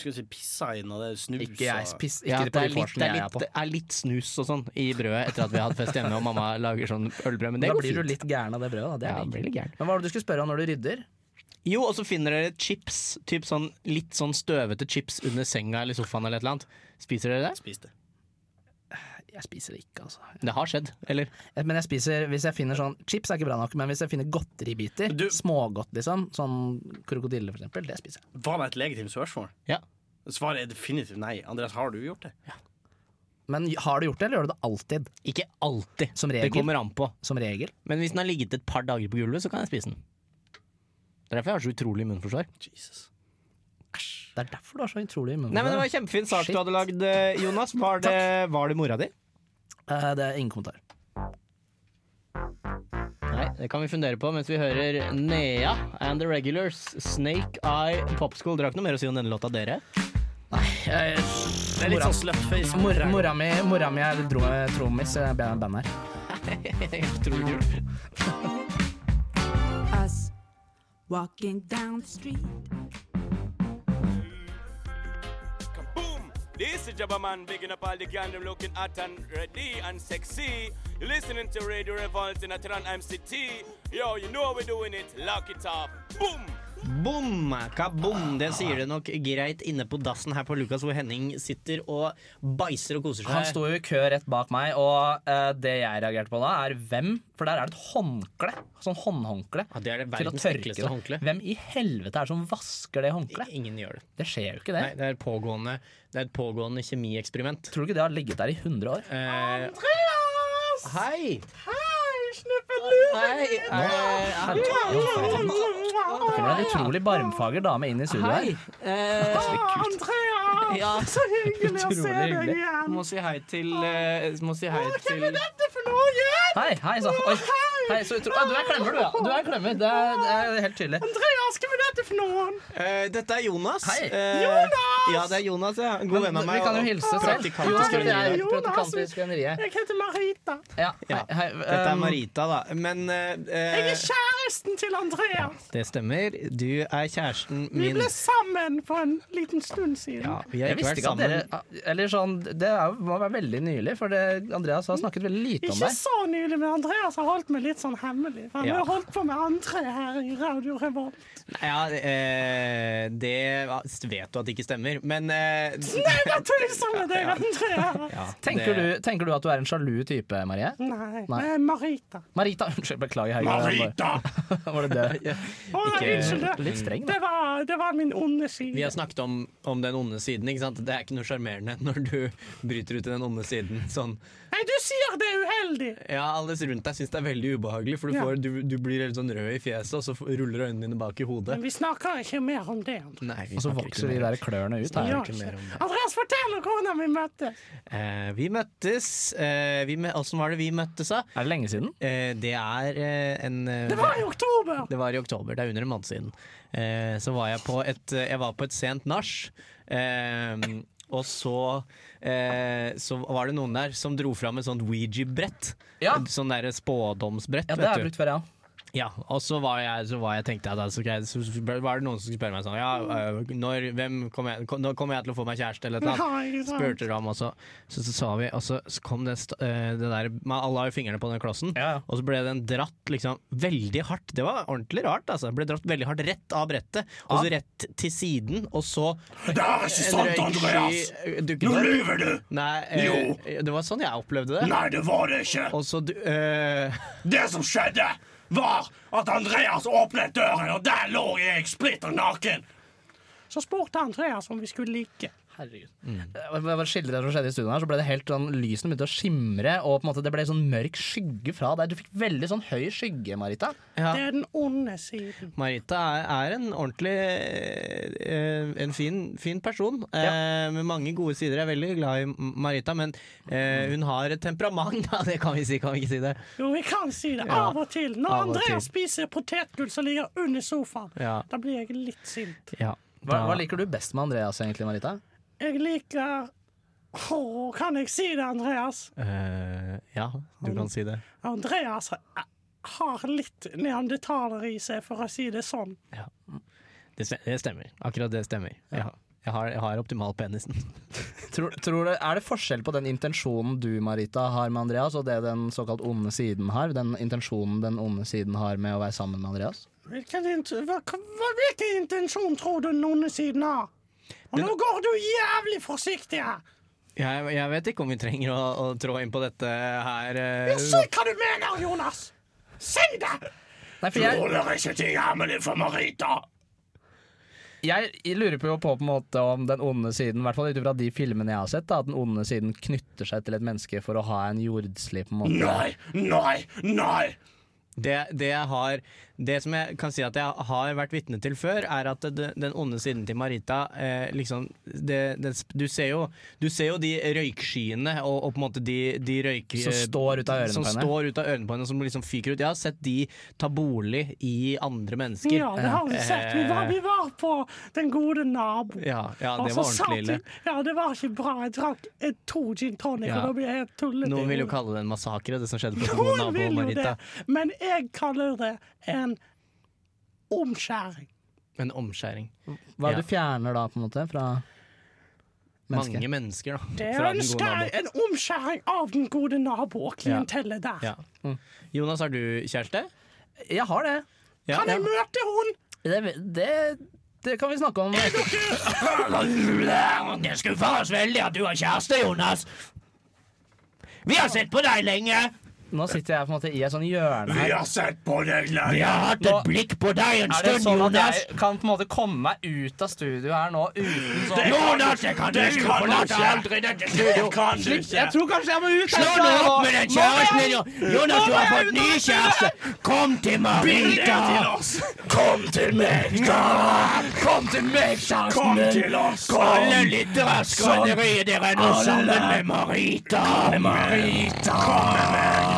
Speaker 3: skal vi si, pissa inn, og det er snus
Speaker 4: Ikke jeg
Speaker 3: og
Speaker 4: spiser
Speaker 5: Ja,
Speaker 4: ikke
Speaker 5: det,
Speaker 4: på
Speaker 5: er
Speaker 4: de
Speaker 5: litt,
Speaker 4: vorsene
Speaker 5: det, er
Speaker 4: jeg er
Speaker 5: litt,
Speaker 4: på.
Speaker 5: det er litt snus og sånn i brødet etter at vi har hatt fest hjemme og mamma lager sånn ølbrød, men det
Speaker 4: Da
Speaker 5: går
Speaker 4: blir du
Speaker 5: fint.
Speaker 4: litt gæren av det brødet. Da. Det
Speaker 5: Ja,
Speaker 4: er
Speaker 5: jeg
Speaker 4: digg.
Speaker 5: blir litt gæren.
Speaker 4: Men hva var det du skulle spørre om når du rydder?
Speaker 5: Jo, og så finner dere chips, typ sånn, litt sånn støvete chips under senga eller sofaen eller et eller annet. Spiser dere det?
Speaker 3: spiste.
Speaker 4: Jeg spiser det ikke, altså.
Speaker 5: Det har skjedd, eller?
Speaker 4: Eh, Men jeg spiser, hvis jeg finner sånn Chips er ikke bra nok, men hvis jeg finner godteribiter,
Speaker 3: Du-
Speaker 4: smågodt liksom, sånn krokodille for eksempel, det spiser jeg.
Speaker 3: Var det et legitimt spørsmål?
Speaker 5: Ja.
Speaker 3: Svaret er definitivt nei. Andreas, har du gjort det?
Speaker 4: Men har du gjort det, eller gjør du det alltid?
Speaker 5: Ikke alltid.
Speaker 4: Som
Speaker 5: Det
Speaker 4: regel.
Speaker 5: kommer an på.
Speaker 4: Som regel.
Speaker 5: Men hvis den har ligget et par dager på gulvet, så kan jeg spise den. Det er derfor jeg har så utrolig immunforsvar.
Speaker 3: Jesus.
Speaker 4: Det er derfor du har så utrolig immunforsvar.
Speaker 5: Nei, men Det var en kjempefin sak
Speaker 4: Shit.
Speaker 5: du hadde lagd, eh, Jonas. Var det, var det mora di?
Speaker 4: Eh, Det er ingen kommentar.
Speaker 5: Nei, det kan vi fundere på mens vi hører Nea and The Regulars, Snake Eye Popschool. Dere har ikke noe mer å si om denne låta, dere?
Speaker 4: Eh,
Speaker 3: Det er litt sånn slutface.
Speaker 4: Mor, mora mi, mora mi er dro- trommis i band bandet her.
Speaker 5: Utrolig kult.
Speaker 11: us walking down the street.
Speaker 2: Boom! This is Jabberman bigging up all the gang them looking at and ready and sexy. You're listening to Radio Revolt in Atran MCT. Yo, you know how we're doing it. Lock it up. Boom!
Speaker 5: Bom, kaboom. Det sier det nok greit inne på dassen her på Lukas, hvor Henning sitter og bæsjer og koser seg.
Speaker 4: Han sto jo i kø rett bak meg, og eh, det jeg reagerte på da, er hvem? For der er det et håndkle. Sånn håndhåndkle.
Speaker 5: Ja, det er det
Speaker 4: til å
Speaker 5: verdens
Speaker 4: tørke
Speaker 5: ekleste
Speaker 4: det.
Speaker 5: håndkle.
Speaker 4: Hvem i helvete er det som vasker det håndkleet?
Speaker 5: Ingen gjør det.
Speaker 4: Det skjer jo ikke, det.
Speaker 5: Nei, det er, pågående, det er et pågående kjemieksperiment.
Speaker 4: Tror du ikke det har ligget der i 100 år?
Speaker 5: Eh, Andreas! Hei! Hei, slipp en lue!
Speaker 4: Det kommer en utrolig barmfager dame inn i studio her.
Speaker 5: eh, Hei! eh,
Speaker 4: (laughs)
Speaker 5: Andrea! Ja, (laughs) så hyggelig å se deg igjen! Må si hei til eh, Må si hei til
Speaker 4: Hei, hei sann. Oi. Hei, så utro... Å, du er klemmer, du, ja. Du er klemmer. Det er, det er helt tydelig.
Speaker 5: Andreas, hvem er dette for noen? dette er Jonas.
Speaker 4: Hei.
Speaker 5: Eh, Ja, det er Jonas, ja. God venn av meg.
Speaker 4: Vi kan jo
Speaker 5: og-
Speaker 4: hilse selv.
Speaker 5: praktikant i
Speaker 4: Jonas,
Speaker 5: skrøneriet.
Speaker 4: jeg er praktikant i skrøneriet.
Speaker 5: Jeg heter Marita.
Speaker 4: Ja, hei,
Speaker 5: Ja.
Speaker 4: hei.
Speaker 5: Dette er
Speaker 4: um,
Speaker 5: Marita, da. Men Jeg er kjæresten til Andrea. Det stemmer. Du er kjæresten min. Vi ble sammen for en liten stund siden. Ja, vi har
Speaker 4: Jeg
Speaker 5: ikke
Speaker 4: visste
Speaker 5: vært
Speaker 4: ikke at
Speaker 5: sammen.
Speaker 4: dere Eller sånn, Det er, må være veldig nylig, for det, Andreas har snakket veldig lite om
Speaker 7: Ikke
Speaker 4: deg.
Speaker 7: så nylig, men Andreas har holdt meg litt sånn hemmelig. For han
Speaker 5: Ja.
Speaker 7: har holdt på med andre her i Radio Revolt.
Speaker 5: Ja, eh, det vet du at det ikke stemmer, men eh,
Speaker 7: Nei, jeg tøyser med deg, Andrea!
Speaker 5: ja,
Speaker 4: Tenker du,
Speaker 5: det-
Speaker 4: tenker du at du er en sjalu type, Marie?
Speaker 7: Nei,
Speaker 4: Nei.
Speaker 7: eh, Marita.
Speaker 4: Marita, (laughs) unnskyld, beklager. Helge. (laughs) Var det det?
Speaker 7: Å, nei,
Speaker 5: Ikke-
Speaker 7: unnskyld. det-
Speaker 4: Litt streng, da.
Speaker 7: Det var, det var min onde
Speaker 5: Vi har
Speaker 7: side.
Speaker 5: snakket om, om den onde siden. Ikke sant? Det er ikke noe sjarmerende når du bryter ut i den onde siden. Sånn.
Speaker 7: Nei, du sier det er uheldig!
Speaker 5: Ja, Alle rundt deg syns det er veldig ubehagelig, for du,
Speaker 7: Ja.
Speaker 5: får, du, du blir helt sånn rød i fjeset, og så f- ruller øynene dine bak i hodet.
Speaker 7: Men vi snakker ikke mer om det. Andreas.
Speaker 5: Nei, vi
Speaker 4: Og så
Speaker 5: snakker
Speaker 4: vokser
Speaker 5: ikke
Speaker 4: de
Speaker 5: mer.
Speaker 4: der klørne ut.
Speaker 7: Vi
Speaker 4: Her.
Speaker 7: gjør
Speaker 5: ikke mer om
Speaker 7: ikke. Andreas, fortell hvordan vi møttes.
Speaker 5: Eh, vi møttes eh, vi mø Åssen var det vi møttes, da?
Speaker 4: Er det lenge siden?
Speaker 5: Eh, det er eh, en eh,
Speaker 7: Det var i oktober!
Speaker 5: Det var i oktober, det er under en måned siden. Eh, så var jeg på et, eh, jeg var på et sent nach. Eh, og så, eh, så var det noen der som dro fram et sånt Ouija-brett.
Speaker 4: Ja.
Speaker 5: Et Sånn der spådomsbrett.
Speaker 4: Ja, det har
Speaker 5: vet
Speaker 4: jeg
Speaker 5: du.
Speaker 4: brukt før, ja.
Speaker 5: Ja, og så var jeg, så var jeg tenkte jeg da, så, ok, så var det noen som skulle spørre meg sånn Ja, øh, når, hvem kommer jeg, kom- når kommer jeg til å få meg kjæreste, eller et eller
Speaker 7: Nei,
Speaker 5: annet?
Speaker 7: ikke sant.
Speaker 5: Spurte de om, og så, så, så sa vi, og så så kom det, st- øh, det der man- Alle har jo fingrene på den klossen,
Speaker 4: Ja, ja.
Speaker 5: og så ble den dratt liksom veldig hardt. Det var ordentlig rart, altså. Ble dratt veldig hardt rett av brettet, og så rett til siden, og så
Speaker 3: Det er ikke sant, Andreas! Nå lyver du!
Speaker 5: Nei, øh, det var sånn jeg opplevde det.
Speaker 3: Nei, det var det ikke.
Speaker 5: Og så du- øh,
Speaker 3: Det som skjedde, var at Andreas åpnet døren, og der lå jeg splitter naken.
Speaker 7: Så spurte Andreas om vi skulle like.
Speaker 4: Herregud. Jeg bare skildrer det som skjedde i studioet her, så ble det helt sånn lysene begynte å skimre, og på en måte det ble sånn mørk skygge fra deg. Du fikk veldig sånn høy skygge, Marita.
Speaker 5: Ja.
Speaker 7: Det er den onde siden.
Speaker 5: Marita er, er en ordentlig eh, En fin, fin person eh, med mange gode sider. Jeg er veldig glad i M- Marita, men eh, hun har et temperament, (laughs) da. Det kan vi si, kan vi ikke si det?
Speaker 7: Jo, vi kan si det.
Speaker 5: Ja.
Speaker 7: Av og til. Når
Speaker 5: Av og til.
Speaker 7: Andreas spiser potetgull som ligger under sofaen,
Speaker 5: Ja.
Speaker 7: da blir jeg litt sint.
Speaker 5: Ja.
Speaker 4: Hva,
Speaker 5: Da-
Speaker 4: hva liker du best med Andreas egentlig, Marita?
Speaker 7: Jeg liker Å, kan jeg si det, Andreas?
Speaker 5: Eh, ja, du kan si det.
Speaker 7: Andreas eh, har litt neandertaler i seg, for å si det sånn.
Speaker 5: Det, ste- det stemmer. Akkurat det stemmer. Ja. Jeg har, jeg har optimal penisen. (laughs)
Speaker 4: Tror, tror du, er det forskjell på den intensjonen du, Marita, har med Andreas, og det den såkalt onde siden har? Den intensjonen den onde siden har med å være sammen med Andreas?
Speaker 7: Hvilken, int- hva, hva, hvilken intensjon tror du den onde siden har? Og nå går du jævlig forsiktig her!
Speaker 5: Jeg, jeg vet ikke om vi trenger å, å trå inn på dette her. eh,
Speaker 7: Jeg ser hva du mener, Jonas! Si det!
Speaker 4: Nei, for
Speaker 7: Du
Speaker 4: jeg-
Speaker 7: holder ikke til hemmelig for Marita.
Speaker 4: Jeg lurer på, på, på en måte om den onde siden, i hvert fall ut fra de filmene jeg har sett, da, at den onde siden knytter seg til et menneske for å ha en jordslig på en måte.
Speaker 7: Nei, nei, nei!
Speaker 5: Det, det, jeg har, det som jeg kan si at jeg har vært vitne til før, er at det, den onde siden til Marita eh, liksom, det, det, du, ser jo, du ser jo de røykskyene og, og på en måte de, de røyk...
Speaker 4: Som står ut av ørene
Speaker 5: som
Speaker 4: på henne.
Speaker 5: står ut av ørene på henne. Som liksom fyker ut. Jeg har sett de ta bolig i andre mennesker.
Speaker 7: Ja, det har vi sett. Vi var, vi var på Den gode nabo.
Speaker 5: Ja, ja,
Speaker 7: Og
Speaker 5: det
Speaker 7: så
Speaker 5: var
Speaker 7: satt
Speaker 5: ordentlig ille.
Speaker 7: vi- Ja, det var ikke bra. Jeg drakk eh, to gin tonic,
Speaker 5: Ja.
Speaker 7: og da ble jeg helt tullete.
Speaker 5: Noen vil jo
Speaker 7: i hodet.
Speaker 5: kalle det en massakre, det som skjedde på
Speaker 7: Noen
Speaker 5: Noen nabo
Speaker 7: vil jo
Speaker 5: Marita.
Speaker 7: det, men jeg kaller det en omskjæring.
Speaker 5: En omskjæring.
Speaker 4: Hva er
Speaker 5: Ja.
Speaker 4: det du fjerner da, på en måte, fra mennesket?
Speaker 5: Mange mennesker, da.
Speaker 7: Det
Speaker 5: fra Den Gode
Speaker 7: ønsker
Speaker 5: Nabo.
Speaker 7: jeg en omskjæring av den gode nabo og klientellet der.
Speaker 5: Ja.
Speaker 4: Mm.
Speaker 5: Jonas, har du kjæreste?
Speaker 4: Jeg har det.
Speaker 5: Ja.
Speaker 7: Kan jeg møte hun?
Speaker 4: Det, det, det kan vi snakke om.
Speaker 12: Det skuffer oss veldig at du har kjæreste, Jonas. Vi har sett på deg lenge.
Speaker 4: Nå sitter jeg på en måte i et sånn hjørne her.
Speaker 12: Vi har sett på deg lenge. Vi har hatt et
Speaker 4: Nå-
Speaker 12: blikk på deg en
Speaker 4: Er det
Speaker 12: stund,
Speaker 4: sånn at
Speaker 12: Jonas.
Speaker 4: jeg kan på en måte komme meg ut av studio her nå uten sånn
Speaker 12: Det- Jonas, jeg kan ikke forlate aldri dette studio. Slipp- jeg tror
Speaker 4: kanskje jeg må ut
Speaker 12: Slå nå opp med den kjæresten din. Jo- Jonas, du har fått ny kjæreste. Kom til Marita. Kom til meg, da. Kom til meg, kjæresten Sånn. min. Alle lyttere av Skrøneriet, dere er nå sammen med Marita. Marita.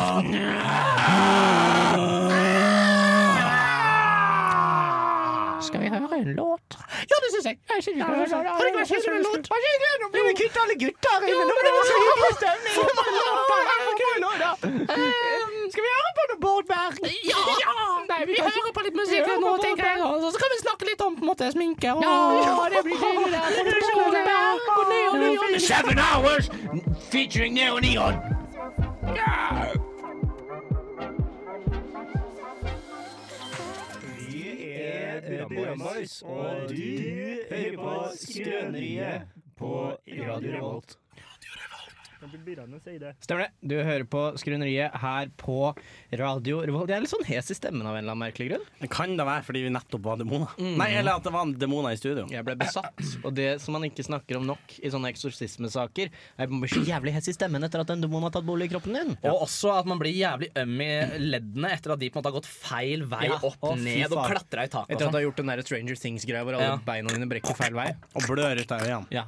Speaker 12: Kom med
Speaker 5: Skal vi høre en låt?
Speaker 12: Ja, det syns jeg. jeg synes
Speaker 7: det var-
Speaker 12: Har det ikke vært kjedelig med låt? Nå blir vi kvitt alle gutter
Speaker 7: Ja,
Speaker 12: inne. Nå
Speaker 7: men
Speaker 12: blir
Speaker 7: det
Speaker 12: det
Speaker 7: var
Speaker 12: så
Speaker 7: så
Speaker 12: hyggelig
Speaker 7: hyggelig
Speaker 12: stemning.
Speaker 7: Få på låter, her er
Speaker 12: Kule låter. Ehm, Skal vi høre på noe Bård Berg?
Speaker 7: Ehm, Ja!
Speaker 12: Nei,
Speaker 7: Vi
Speaker 12: kan
Speaker 7: hører
Speaker 12: ikke-
Speaker 7: på litt
Speaker 12: Vi
Speaker 7: musikk
Speaker 12: hører
Speaker 7: nå,
Speaker 12: på
Speaker 7: tenker
Speaker 12: Bård
Speaker 7: jeg.
Speaker 12: Berg.
Speaker 7: Og så kan vi snakke litt om på en måte, sminke og
Speaker 12: Ja, det blir deilig, det.
Speaker 7: Det blir så bra. Og neon, neon.
Speaker 12: Seven hours featuring Neo Neon.
Speaker 2: Vi er Brødboys, og du hører på Skrøneriet på Radio Revolt.
Speaker 5: Stemmer det. Du hører på Skrøneriet her på Radio Revolt. Jeg er litt sånn hes i stemmen av en eller annen merkelig grunn.
Speaker 3: Det kan da være fordi vi nettopp var demoner.
Speaker 12: Mm.
Speaker 3: Nei, eller at det var demoner i studio.
Speaker 5: Jeg ble besatt, og det som man ikke snakker om nok i sånne eksorsismesaker, er at man blir så jævlig hes i stemmen etter at en demon har tatt bolig i kroppen din.
Speaker 4: Og også at man blir jævlig øm i leddene etter at de på en måte har gått feil vei
Speaker 5: Ja,
Speaker 4: opp,
Speaker 5: å, fy
Speaker 4: ned og sånn.
Speaker 5: faen.
Speaker 4: klatra i taket.
Speaker 5: Etter at du har gjort den der Stranger Things-greia hvor alle
Speaker 4: Ja.
Speaker 5: beina dine brekker feil vei.
Speaker 3: Og blør ut av øynene.
Speaker 5: Ja.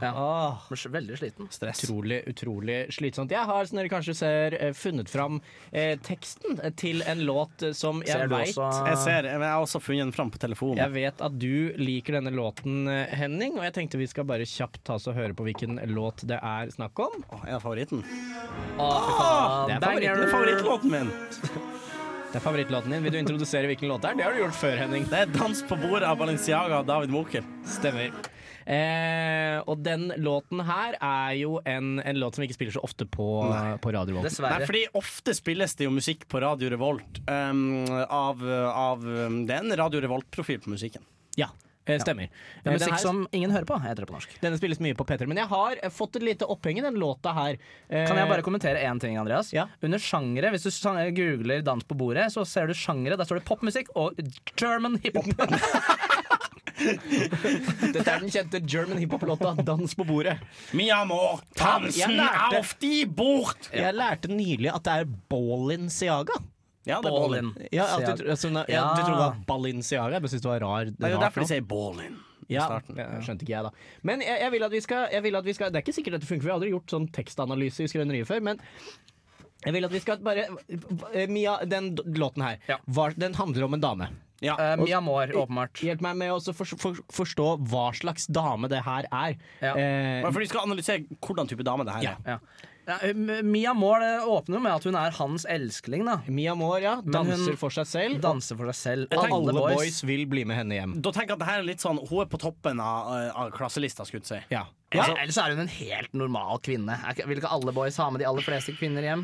Speaker 4: Blir veldig sliten.
Speaker 3: Stress.
Speaker 5: Utrolig, utrolig slitsomt. Jeg har, som dere kanskje ser, eh, funnet fram eh, teksten til en låt eh, som jeg veit
Speaker 3: Jeg ser, men jeg har også funnet den fram på telefonen.
Speaker 5: Jeg vet at du liker denne låten, eh, Henning, og jeg tenkte vi skal bare kjapt ta oss og høre på hvilken låt det er snakk om.
Speaker 3: er det favoritten?
Speaker 5: Ah, det er
Speaker 3: Banger! Det er favorittlåten min.
Speaker 5: Det er favorittlåten din. Vil du introdusere hvilken låt det er? Det har du gjort før, Henning.
Speaker 3: Det er 'Dans på bordet' av Balenciaga og David Mokel.
Speaker 5: Stemmer. Eh, og den låten her er jo en, en låt som vi ikke spiller så ofte på,
Speaker 3: Nei.
Speaker 5: på radio.
Speaker 3: Nei, fordi ofte spilles det jo musikk på Radio Revolt um, av, av um, Det er en Radio Revolt-profil på musikken.
Speaker 5: Ja, eh, stemmer.
Speaker 3: Det er
Speaker 5: Eh,
Speaker 3: musikk
Speaker 5: den her-
Speaker 3: som
Speaker 4: ingen hører på, heter det på norsk.
Speaker 5: Denne spilles mye på P3, men jeg har eh, fått et lite oppheng i den låta her. Eh,
Speaker 4: Kan jeg bare kommentere én ting, Andreas? Under sjangere, hvis du sang- googler 'dans på bordet', så ser du sjangere. Der står det popmusikk og German hiphop.
Speaker 5: Dette er den kjente German hiphop-låta
Speaker 4: (laughs)
Speaker 5: 'Dans på bordet'.
Speaker 3: Mi amor,
Speaker 5: Jeg
Speaker 3: tansen
Speaker 5: lærte-
Speaker 3: er ofte i bort!
Speaker 5: Jeg lærte nylig at det er Balinciaga.
Speaker 3: Ja, det er Ballin.
Speaker 5: Ja, at du, altså, ja,
Speaker 3: Ja.
Speaker 5: du trodde det var Balinciaga. Jeg bare synes det var rar.
Speaker 3: Det er jo
Speaker 5: rart
Speaker 3: derfor de
Speaker 5: navn.
Speaker 3: sier Ballin. i
Speaker 5: Ja,
Speaker 3: starten.
Speaker 5: det skjønte ikke jeg, da. Men jeg, jeg, vil at vi skal, jeg vil at vi skal Det er ikke sikkert dette funker, vi har aldri gjort sånn tekstanalyse i Skrøneriet før, men jeg vil at vi skal bare eh, Mia, den d- låten her, hva, den handler om en dame.
Speaker 4: Eh, Mia Moore, åpenbart.
Speaker 5: Hjelp meg med å så for, for, forstå hva slags dame det her er. Eh,
Speaker 3: Bare fordi vi skal analysere hvordan type dame det her er.
Speaker 4: Ja. Ja, eh, M- Mia Moore det åpner jo med at hun er hans elskling, da.
Speaker 5: Mia Moore, ja. danser for seg selv.
Speaker 4: Danser for seg selv.
Speaker 3: Jeg tenker-
Speaker 5: alle boys. vil bli med henne hjem.
Speaker 3: Da tenker jeg at det her er litt sånn Hun er på toppen av, eh, av klasselista, skulle jeg si. Altså,
Speaker 5: Ja.
Speaker 4: Ellers, ellers er hun en helt normal kvinne. Er ikke- Vil ikke alle boys ha med de aller fleste kvinner hjem?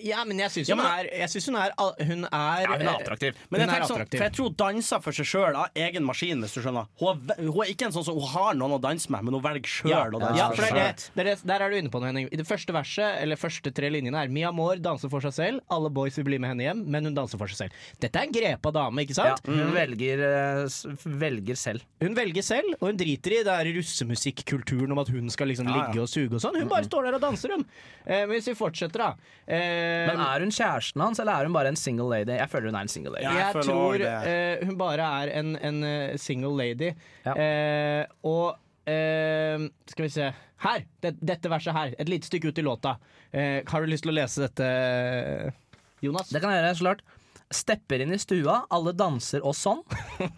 Speaker 5: Ja, men jeg syns
Speaker 3: Ja,
Speaker 5: hun,
Speaker 3: men-
Speaker 5: er- jeg synes hun er al- Hun er
Speaker 3: Ja, hun
Speaker 4: Eh,
Speaker 3: er attraktiv.
Speaker 5: Hun
Speaker 3: Men jeg,
Speaker 5: er
Speaker 3: tenker sånn,
Speaker 5: attraktiv.
Speaker 3: for jeg tror hun danser for seg sjøl av egen maskin, hvis du skjønner. Hun er, ve- hun er ikke en sånn som hun har noen å danse med, men hun velger sjøl
Speaker 5: Ja,
Speaker 3: å danse
Speaker 5: ja,
Speaker 3: med.
Speaker 5: for det er det, det er det, der er du inne på noe, Henning. I det første verset, eller første tre linjene er Mia Moore danser for seg selv, alle boys vil bli med henne hjem, men hun danser for seg selv. Dette er en grepa dame, ikke sant?
Speaker 4: Ja, hun velger, eh, selv.
Speaker 5: Hun velger selv, og hun driter i det er russemusikkulturen om at hun skal liksom
Speaker 4: Ja, ja.
Speaker 5: ligge og suge og sånn. Hun bare står der og danser, hun. Eh, men hvis vi fortsetter, da. Eh,
Speaker 7: Um,
Speaker 4: Men er hun kjæresten hans, eller er hun bare en single lady? Jeg føler hun er en single lady.
Speaker 5: jeg tror eh, hun bare er en, en eh, single lady. Eh, og eh, skal vi se Her! Det, dette verset her. Et lite stykke ut i låta. Eh, har du lyst til å lese dette,
Speaker 3: eh,
Speaker 5: Jonas?
Speaker 4: Det kan jeg gjøre, så klart. Stepper inn i stua, alle danser og
Speaker 3: (laughs)
Speaker 4: sånn.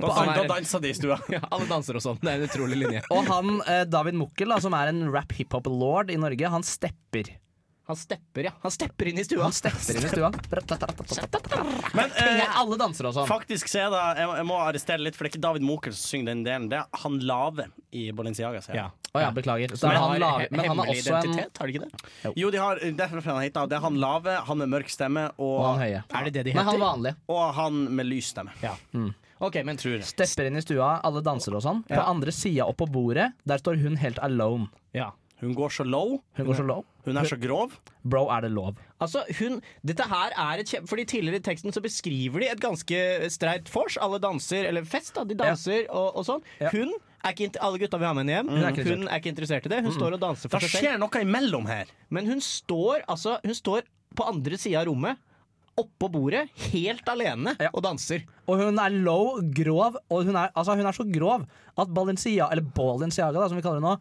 Speaker 5: Da sang- da
Speaker 3: dansa de i stua.
Speaker 5: ja, alle danser og sånn. Det er en utrolig (laughs) linje.
Speaker 4: Og han, eh, David Mukkel, da, som er en rap-hiphop-lord i Norge, han stepper.
Speaker 5: Han stepper, ja. Han stepper inn i stua.
Speaker 4: Han stepper inn i stua.
Speaker 3: (laughs) Men eh,
Speaker 4: alle danser og sånn.
Speaker 3: Faktisk så er det jeg, jeg må arrestere litt, for det er ikke David Mokel som synger den delen. Det er han Lave i Balenciaga. ser jeg.
Speaker 5: Ja.
Speaker 4: Å ja, beklager. Så
Speaker 3: Men
Speaker 4: er han
Speaker 3: har
Speaker 4: lav,
Speaker 3: he-
Speaker 4: men han er
Speaker 3: hemmelig
Speaker 4: også en
Speaker 3: identitet, har de ikke det? Jo, de har, derfor er han hit, da. Det er han Lave, han med mørk stemme og,
Speaker 4: Og han høye.
Speaker 3: Er det
Speaker 5: det
Speaker 4: Nei, han vanlige.
Speaker 3: Og han med lys stemme.
Speaker 5: Ok, men
Speaker 3: Tror jeg.
Speaker 4: Stepper inn i stua, alle danser og sånn. På
Speaker 3: Ja.
Speaker 4: andre sida oppå bordet, der står hun helt alone.
Speaker 3: Hun går så low.
Speaker 4: Hun går så low.
Speaker 3: Hun er så grov.
Speaker 4: Bro, er det lov?
Speaker 5: Altså, hun, dette her er et kjempe... Fordi Tidligere i teksten så beskriver de et ganske streit vors. Alle danser, eller fest, da. De danser og, og sånn. Hun er ikke, inter- alle gutta vil ha med henne hjem. Hun er ikke, interessert i det. Hun står og danser for
Speaker 3: Det
Speaker 5: seg selv.
Speaker 3: skjer noe imellom her.
Speaker 5: Men hun står, altså, hun står på andre sida av rommet, oppå bordet, helt alene, og danser.
Speaker 4: Og hun er low, grov, og hun er, altså, hun er så grov at Balenciaga, eller Balenciaga da, som vi kaller det nå,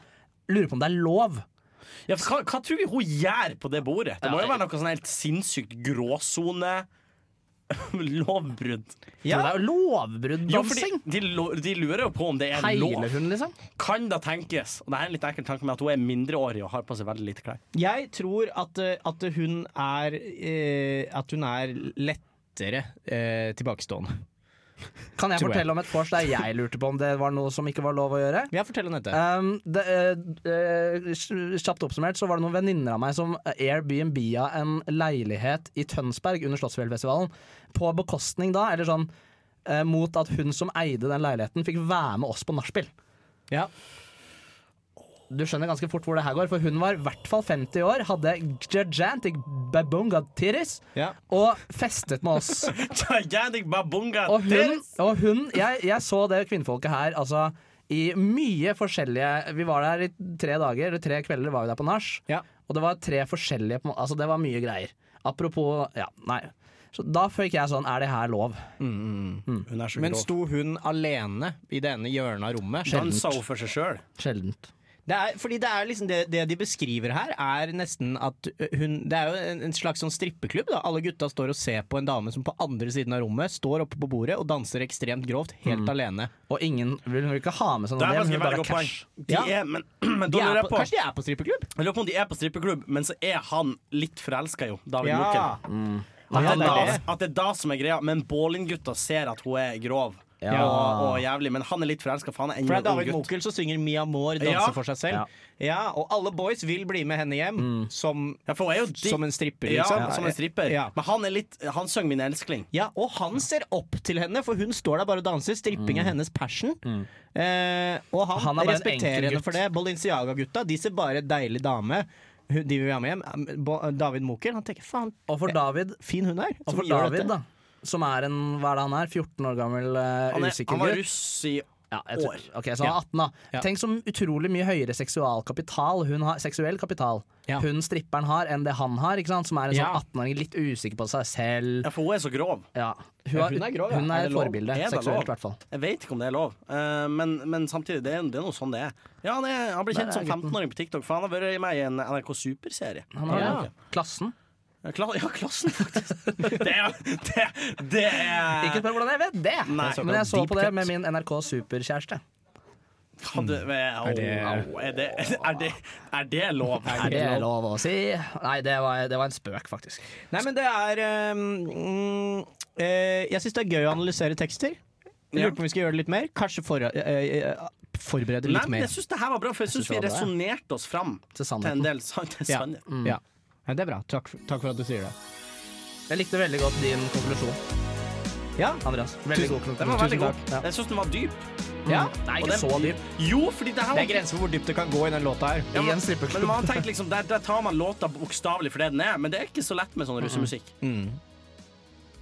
Speaker 4: lurer på om det er lov.
Speaker 3: Ja, for hva, hva tror vi hun gjør på det bordet? Det må jo være noe sånn helt sinnssykt gråsone (laughs) Lovbrudd.
Speaker 4: Ja. Det er jo lovbrudd-dansing.
Speaker 3: de, lo- de lurer jo på om det er lov.
Speaker 4: Heiler hun, liksom?
Speaker 3: Kan det tenkes? Og det er en litt ekkel tanke med at hun er mindreårig og har på seg veldig lite klær.
Speaker 5: Jeg tror at, eh, at hun er eh, At hun er lettere eh, tilbakestående.
Speaker 4: Kan jeg
Speaker 5: Tror jeg.
Speaker 4: fortelle om et vors der jeg lurte på om det var noe som ikke var lov å gjøre?
Speaker 5: Ja, fortell om dette.
Speaker 4: Um, det, eh, eh, kj- kjapt oppsummert så var det noen venninner av meg som Airbnb-a en leilighet i Tønsberg under Slottsfjellfestivalen. På bekostning da, eller sånn eh, mot at hun som eide den leiligheten, fikk være med oss på nachspiel.
Speaker 5: Ja.
Speaker 4: Du skjønner ganske fort hvor det her går, for hun var i hvert fall 50 år, hadde gigantic babunga titties
Speaker 5: Ja.
Speaker 4: og festet med oss.
Speaker 3: (laughs) Gigantic babunga
Speaker 4: Og hun, og hun jeg, jeg så det kvinnfolket her altså, i mye forskjellige Vi var der i tre dager, eller tre kvelder var vi der på nach. Og det var tre forskjellige på en må- Altså, det var mye greier. Apropos Ja, nei. Så da fikk jeg sånn Er det her lov?
Speaker 3: Hun er så
Speaker 5: Men
Speaker 4: grov.
Speaker 5: sto hun alene i det ene hjørnet av rommet?
Speaker 4: Sjeldent. Dansa hun
Speaker 3: for seg sjøl?
Speaker 4: Sjeldent.
Speaker 5: Det er, fordi det, er liksom det, det de beskriver her, er nesten at hun Det er jo en, en slags sånn strippeklubb. Da. Alle gutta står og ser på en dame som på andre siden av rommet står oppe på bordet og danser ekstremt grovt, helt
Speaker 4: Mm.
Speaker 5: alene.
Speaker 4: Og ingen vil vil ikke ha med seg
Speaker 3: Det
Speaker 4: noe
Speaker 3: er
Speaker 4: av det,
Speaker 3: faktisk
Speaker 4: men hun
Speaker 3: et veldig
Speaker 4: bare
Speaker 3: godt
Speaker 4: har
Speaker 3: poeng.
Speaker 4: cash.
Speaker 3: De er, men, (clears throat) men
Speaker 4: De
Speaker 3: da
Speaker 4: er
Speaker 3: lurer jeg
Speaker 4: på-
Speaker 3: på
Speaker 4: kanskje de er på
Speaker 5: strippeklubb?
Speaker 3: Jeg lurer på om de er på strippeklubb, men så er han litt forelska, jo. David
Speaker 5: Ja.
Speaker 3: Moken.
Speaker 5: Ja,
Speaker 3: At, det
Speaker 5: det
Speaker 3: er
Speaker 5: er
Speaker 3: da, at det er da som er greia, men Ballin-gutta ser at hun er grov
Speaker 5: Ja.
Speaker 3: og, og jævlig. Men han er litt forelska, for han er
Speaker 5: For det
Speaker 3: ennå
Speaker 5: er David
Speaker 3: en Mm, ung gutt.
Speaker 5: Mokel som synger Mia Moore danser
Speaker 3: Ja. Mm.
Speaker 5: for seg selv. Ja. Og alle boys vil bli med henne hjem som, som en stripper.
Speaker 3: Ja,
Speaker 5: Liksom.
Speaker 3: som en stripper.
Speaker 5: Ja.
Speaker 3: Men han er litt Han synger 'Min elskling'.
Speaker 5: Ja, og han ser opp til henne, for hun står der bare og danser. Stripping er hennes passion. Eh, og han,
Speaker 4: Mm. Han er bare en enkel
Speaker 5: respekterer henne
Speaker 4: gutt.
Speaker 5: for det. Balenciaga-gutta de ser bare deilig dame. Hun- De vil ha med hjem. Eh, Bo- David Mokel han tenker faen,
Speaker 4: Og for David,
Speaker 5: fin hun er.
Speaker 4: og
Speaker 5: som
Speaker 4: for
Speaker 5: gjør
Speaker 4: David
Speaker 5: dette.
Speaker 4: da, som er en Hva er det han er? 14 år gammel, eh,
Speaker 3: Han, er,
Speaker 4: usikker
Speaker 3: han var
Speaker 4: gutt.
Speaker 3: russ i
Speaker 4: Jeg tror-
Speaker 3: år.
Speaker 4: Ok, så han er 18 da
Speaker 3: Ja.
Speaker 4: Tenk så utrolig mye høyere seksualkapital Hun har seksuell kapital Hun stripperen har enn det han har ikke sant? Som er en
Speaker 3: Ja.
Speaker 4: sånn 18-åring litt usikker på seg selv
Speaker 3: Ja, for hun er så grov.
Speaker 4: Ja, hun, er, hun er,
Speaker 3: grov, ja. det lov?
Speaker 4: forbilde
Speaker 3: Er det
Speaker 4: Seksuelt
Speaker 3: lov?
Speaker 4: i hvert fall
Speaker 3: Jeg vet ikke om det er lov, eh, men, men samtidig, det er, det er noe sånn det er. Ja, han, er, han ble
Speaker 4: Der er
Speaker 3: kjent som
Speaker 4: gutten.
Speaker 3: 15-åring på TikTok, for han har vært med i en NRK Super-serie.
Speaker 4: Han har det. Klassen
Speaker 3: Ja, kla- ja, klassen, faktisk. (laughs) Det er, det, det er
Speaker 4: Ikke spør hvordan jeg vet det
Speaker 3: Nei. Det er såkalt
Speaker 4: Men jeg så på
Speaker 3: deep
Speaker 4: det
Speaker 3: cut.
Speaker 4: med min NRK superkjæreste
Speaker 3: Hadde, au,
Speaker 4: Mm. Er det-
Speaker 3: au, er, det, er, det, er det lov?
Speaker 4: Er det lov å si? Nei, det var, det var en spøk faktisk
Speaker 5: Nei, men det er eh, mm, eh, Jeg syns det er gøy å analysere tekster. Jeg
Speaker 3: Ja.
Speaker 5: lurer på om vi skal gjøre det litt mer. Kanskje for, eh, eh, forberede
Speaker 3: Nei,
Speaker 5: litt
Speaker 3: men
Speaker 5: mer.
Speaker 3: jeg syns det her var bra, for jeg
Speaker 5: Jeg
Speaker 3: syns vi
Speaker 5: synes det var bra,
Speaker 3: resonnerte oss fram til en del sann til
Speaker 5: Ja.
Speaker 4: Mm.
Speaker 3: sannhet.
Speaker 5: Ja. Ja, det er bra. Takk for, takk for at du sier det.
Speaker 4: Jeg likte veldig godt din konklusjon.
Speaker 3: Ja,
Speaker 4: Andreas.
Speaker 3: Tusen-
Speaker 4: Veldig god konklusjon.
Speaker 3: Den var veldig
Speaker 4: Tusen
Speaker 3: god.
Speaker 4: takk. Ja.
Speaker 3: Jeg syns den var dyp.
Speaker 5: Ja.
Speaker 3: Mm.
Speaker 5: Nei, ikke
Speaker 3: Og den-
Speaker 5: så dyp.
Speaker 3: Jo, fordi det her
Speaker 5: Det er grenser for hvor dypt det kan gå i den låta her.
Speaker 3: Ja, men- Men man tenkte liksom, der, der tar man låta bokstavelig for det den er, men det er ikke så lett med sånn russemusikk.
Speaker 5: Mm.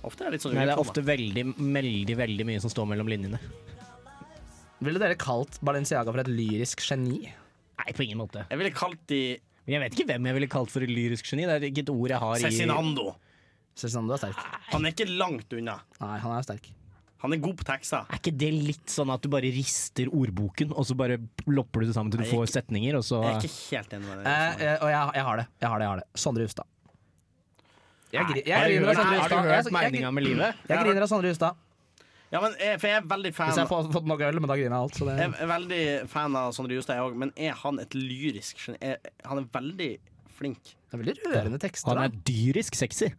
Speaker 3: Ofte er det litt sånn
Speaker 5: Nei, det er
Speaker 3: urettkommet.
Speaker 5: ofte veldig, veldig, veldig mye som står mellom linjene.
Speaker 4: Ville dere kalt Balenciaga for et lyrisk geni?
Speaker 5: Nei, på ingen måte.
Speaker 3: Jeg ville kalt de
Speaker 5: Men jeg vet ikke hvem jeg ville kalt for et lyrisk geni. Det er ikke et ord jeg har i
Speaker 3: Cezinando.
Speaker 4: Cezinando er sterk.
Speaker 3: Han er ikke langt unna.
Speaker 4: Nei, han er sterk.
Speaker 3: Han er god på tekster.
Speaker 5: Er ikke det litt sånn at du bare rister ordboken, og så bare lopper du det sammen til du
Speaker 3: Nei, jeg-
Speaker 5: får setninger, og så
Speaker 3: Jeg er ikke helt enig med
Speaker 4: Eh,
Speaker 3: det.
Speaker 4: eh, og jeg, jeg har det. Jeg har det, jeg har det. Sondre Justad. Jeg, gri- jeg
Speaker 5: Har du
Speaker 4: griner
Speaker 5: hørt-
Speaker 4: av Sondre
Speaker 5: har du
Speaker 4: Justad.
Speaker 5: hørt
Speaker 4: Jeg- jeg-
Speaker 5: meningen med livet?
Speaker 4: Jeg griner av Sondre Justad.
Speaker 3: Ja, men jeg, for jeg er veldig fan
Speaker 4: Hvis jeg har fått nok øl, men da griner jeg alt. Så
Speaker 3: Jeg
Speaker 4: det,
Speaker 3: er veldig fan av Sondre Justad, jeg òg, men er han et lyrisk geni? Er- Han er veldig flink.
Speaker 4: det er veldig rørende tekster.
Speaker 5: Han
Speaker 4: da.
Speaker 5: er dyrisk sexy.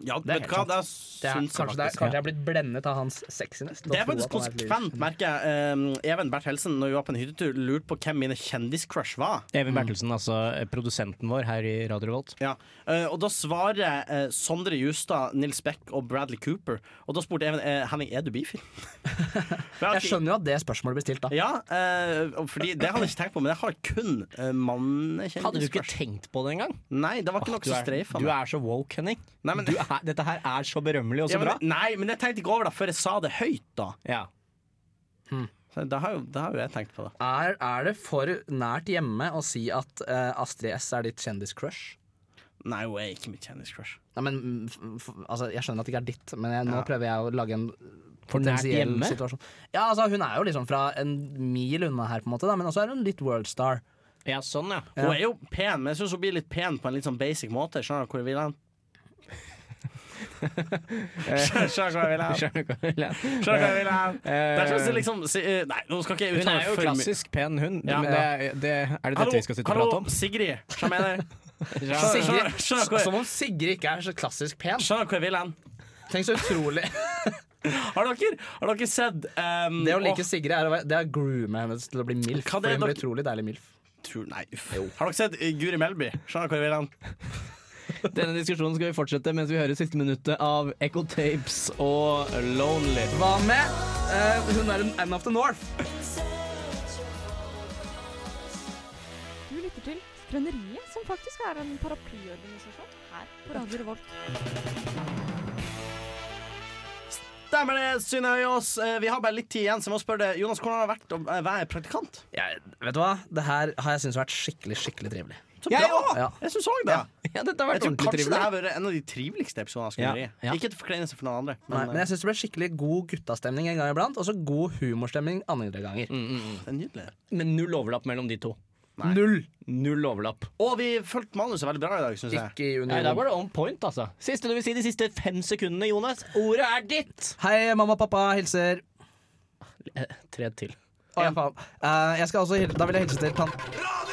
Speaker 3: Ja,
Speaker 4: Det er
Speaker 3: vet du
Speaker 4: helt sant.
Speaker 3: hva, det
Speaker 4: Det er,
Speaker 3: syns jeg
Speaker 4: kanskje, det er,
Speaker 3: faktisk.
Speaker 4: kanskje jeg er blitt blendet av hans sexiness.
Speaker 3: Det er faktisk konsekvent, merker jeg. Um, Even Bertelsen, når vi var på en hyttetur, lurte på hvem mine kjendiscrush var.
Speaker 5: Even Bertelsen, altså eh, produsenten vår her i Radio Revolt.
Speaker 3: Ja. eh, og da svarer eh, Sondre Justad, Nils Beck og Bradley Cooper. Og da spurte Even eh, Henning, er
Speaker 5: (laughs)
Speaker 3: du bifil? For har
Speaker 4: Jeg
Speaker 3: ikke-
Speaker 4: skjønner jo at det spørsmålet blir stilt, da.
Speaker 3: Ja, eh, og fordi det hadde jeg ikke tenkt på, men jeg har kun uh, mannekjendiscrush.
Speaker 5: Hadde du ikke tenkt på det engang?
Speaker 3: Nei, det var ikke noe
Speaker 5: Du
Speaker 3: som
Speaker 5: er,
Speaker 3: streifa
Speaker 5: du er så woke, Henning. Du er, dette her er så berømmelig og så
Speaker 3: ja, men,
Speaker 5: bra.
Speaker 3: Nei, men jeg tenkte ikke over det før jeg sa det høyt, da.
Speaker 5: Ja.
Speaker 3: Så Da har, jo, da har jo jeg tenkt på det.
Speaker 4: Er, er det for nært hjemme å si at eh, Astrid S er ditt kjendiscrush?
Speaker 3: Nei, hun er ikke mitt kjendiscrush.
Speaker 4: Nei, men, mm, f- f- altså, jeg skjønner at det ikke er ditt, men jeg, nå
Speaker 3: Ja.
Speaker 4: prøver jeg å lage en
Speaker 5: For nært
Speaker 4: potensiell
Speaker 5: hjemme?
Speaker 4: situasjon. Ja, altså, hun er jo liksom fra en mil unna her, på en måte, da, men også er hun litt worldstar.
Speaker 5: ja, sånn, ja.
Speaker 3: Hun er jo pen, men jeg syns hun blir litt pen på en litt sånn basic måte. Skjønner du hvor jeg vil hen? Skjønner skjønner du hvor jeg vil hen?
Speaker 5: Eh, Skjønner du hva jeg mener?
Speaker 3: Skjønner du hva jeg vil hen?
Speaker 5: Eh,
Speaker 3: Der synes jeg liksom si- eh, Nei, nå skal ikke jeg
Speaker 5: Hun
Speaker 3: uttale
Speaker 5: er jo
Speaker 3: meg for mye.
Speaker 5: klassisk pen hund.
Speaker 3: Ja.
Speaker 5: men det er, det, er det dette vi skal sitte og
Speaker 3: hallo,
Speaker 5: prate om?
Speaker 3: Sigrid. Hva
Speaker 5: (laughs)
Speaker 3: mener du? Skjønner-
Speaker 4: Sigrid,
Speaker 3: skjønner- skjønner hvor jeg-
Speaker 4: som om Sigrid ikke er så klassisk pen.
Speaker 3: Skjønner du hvor jeg vil hen?
Speaker 4: Tenk så utrolig
Speaker 3: Har dere, har dere sett um,
Speaker 4: Det å
Speaker 3: åh,
Speaker 4: like Sigrid er, å være- det er groome henne til å bli milf.
Speaker 3: Hva
Speaker 4: For
Speaker 3: det er
Speaker 4: hun blir
Speaker 3: dere-
Speaker 4: utrolig deilig milf.
Speaker 3: tror, Nei, uff. Har dere sett eh, Guri Melby? Skjønner du hvor jeg vil hen?
Speaker 5: Denne diskusjonen skal vi fortsette mens vi hører siste minuttet av Echo Tapes og Lonely.
Speaker 4: Hva med eh, hun er en Anne of the North?
Speaker 13: Du lytter til Skrøneriet, som faktisk er en paraplyorganisasjon her på Radio Revolt.
Speaker 3: Stemmer det, Synnøve Aas. Eh, Vi har bare litt tid igjen, så jeg må spørre deg, Jonas, hvordan har det vært å eh, være praktikant?
Speaker 4: Jeg, vet du hva? Det her har jeg syntes vært skikkelig skikkelig trivelig.
Speaker 3: Så
Speaker 5: Jeg
Speaker 3: bra!
Speaker 4: Ja.
Speaker 3: Jeg syns òg det.
Speaker 5: Ja, dette har
Speaker 3: Jeg
Speaker 5: vært
Speaker 3: tror
Speaker 5: ordentlig
Speaker 3: kanskje
Speaker 5: trivelig.
Speaker 3: det her har vært en av de triveligste episodene av Skrøneriet.
Speaker 5: Ja, ja.
Speaker 3: Ikke til forkleinelse for noen andre.
Speaker 4: Nei, men jeg syns det ble skikkelig god guttastemning en gang iblant, og så god humorstemning andre ganger.
Speaker 3: det er eh, nydelig.
Speaker 5: Men null overlapp mellom de to.
Speaker 4: Null!
Speaker 5: Null overlapp.
Speaker 3: Og vi fulgte manuset veldig bra i dag, syns jeg.
Speaker 4: Ikke i
Speaker 5: Nei,
Speaker 4: union.
Speaker 5: der var det on point, altså. Siste du vil si de siste fem sekundene, Jonas. Ordet er ditt!
Speaker 4: Hei, mamma og pappa hilser.
Speaker 5: Tre til.
Speaker 4: Å, ja, faen. Eh, jeg skal også hil da vil jeg hilse til tan...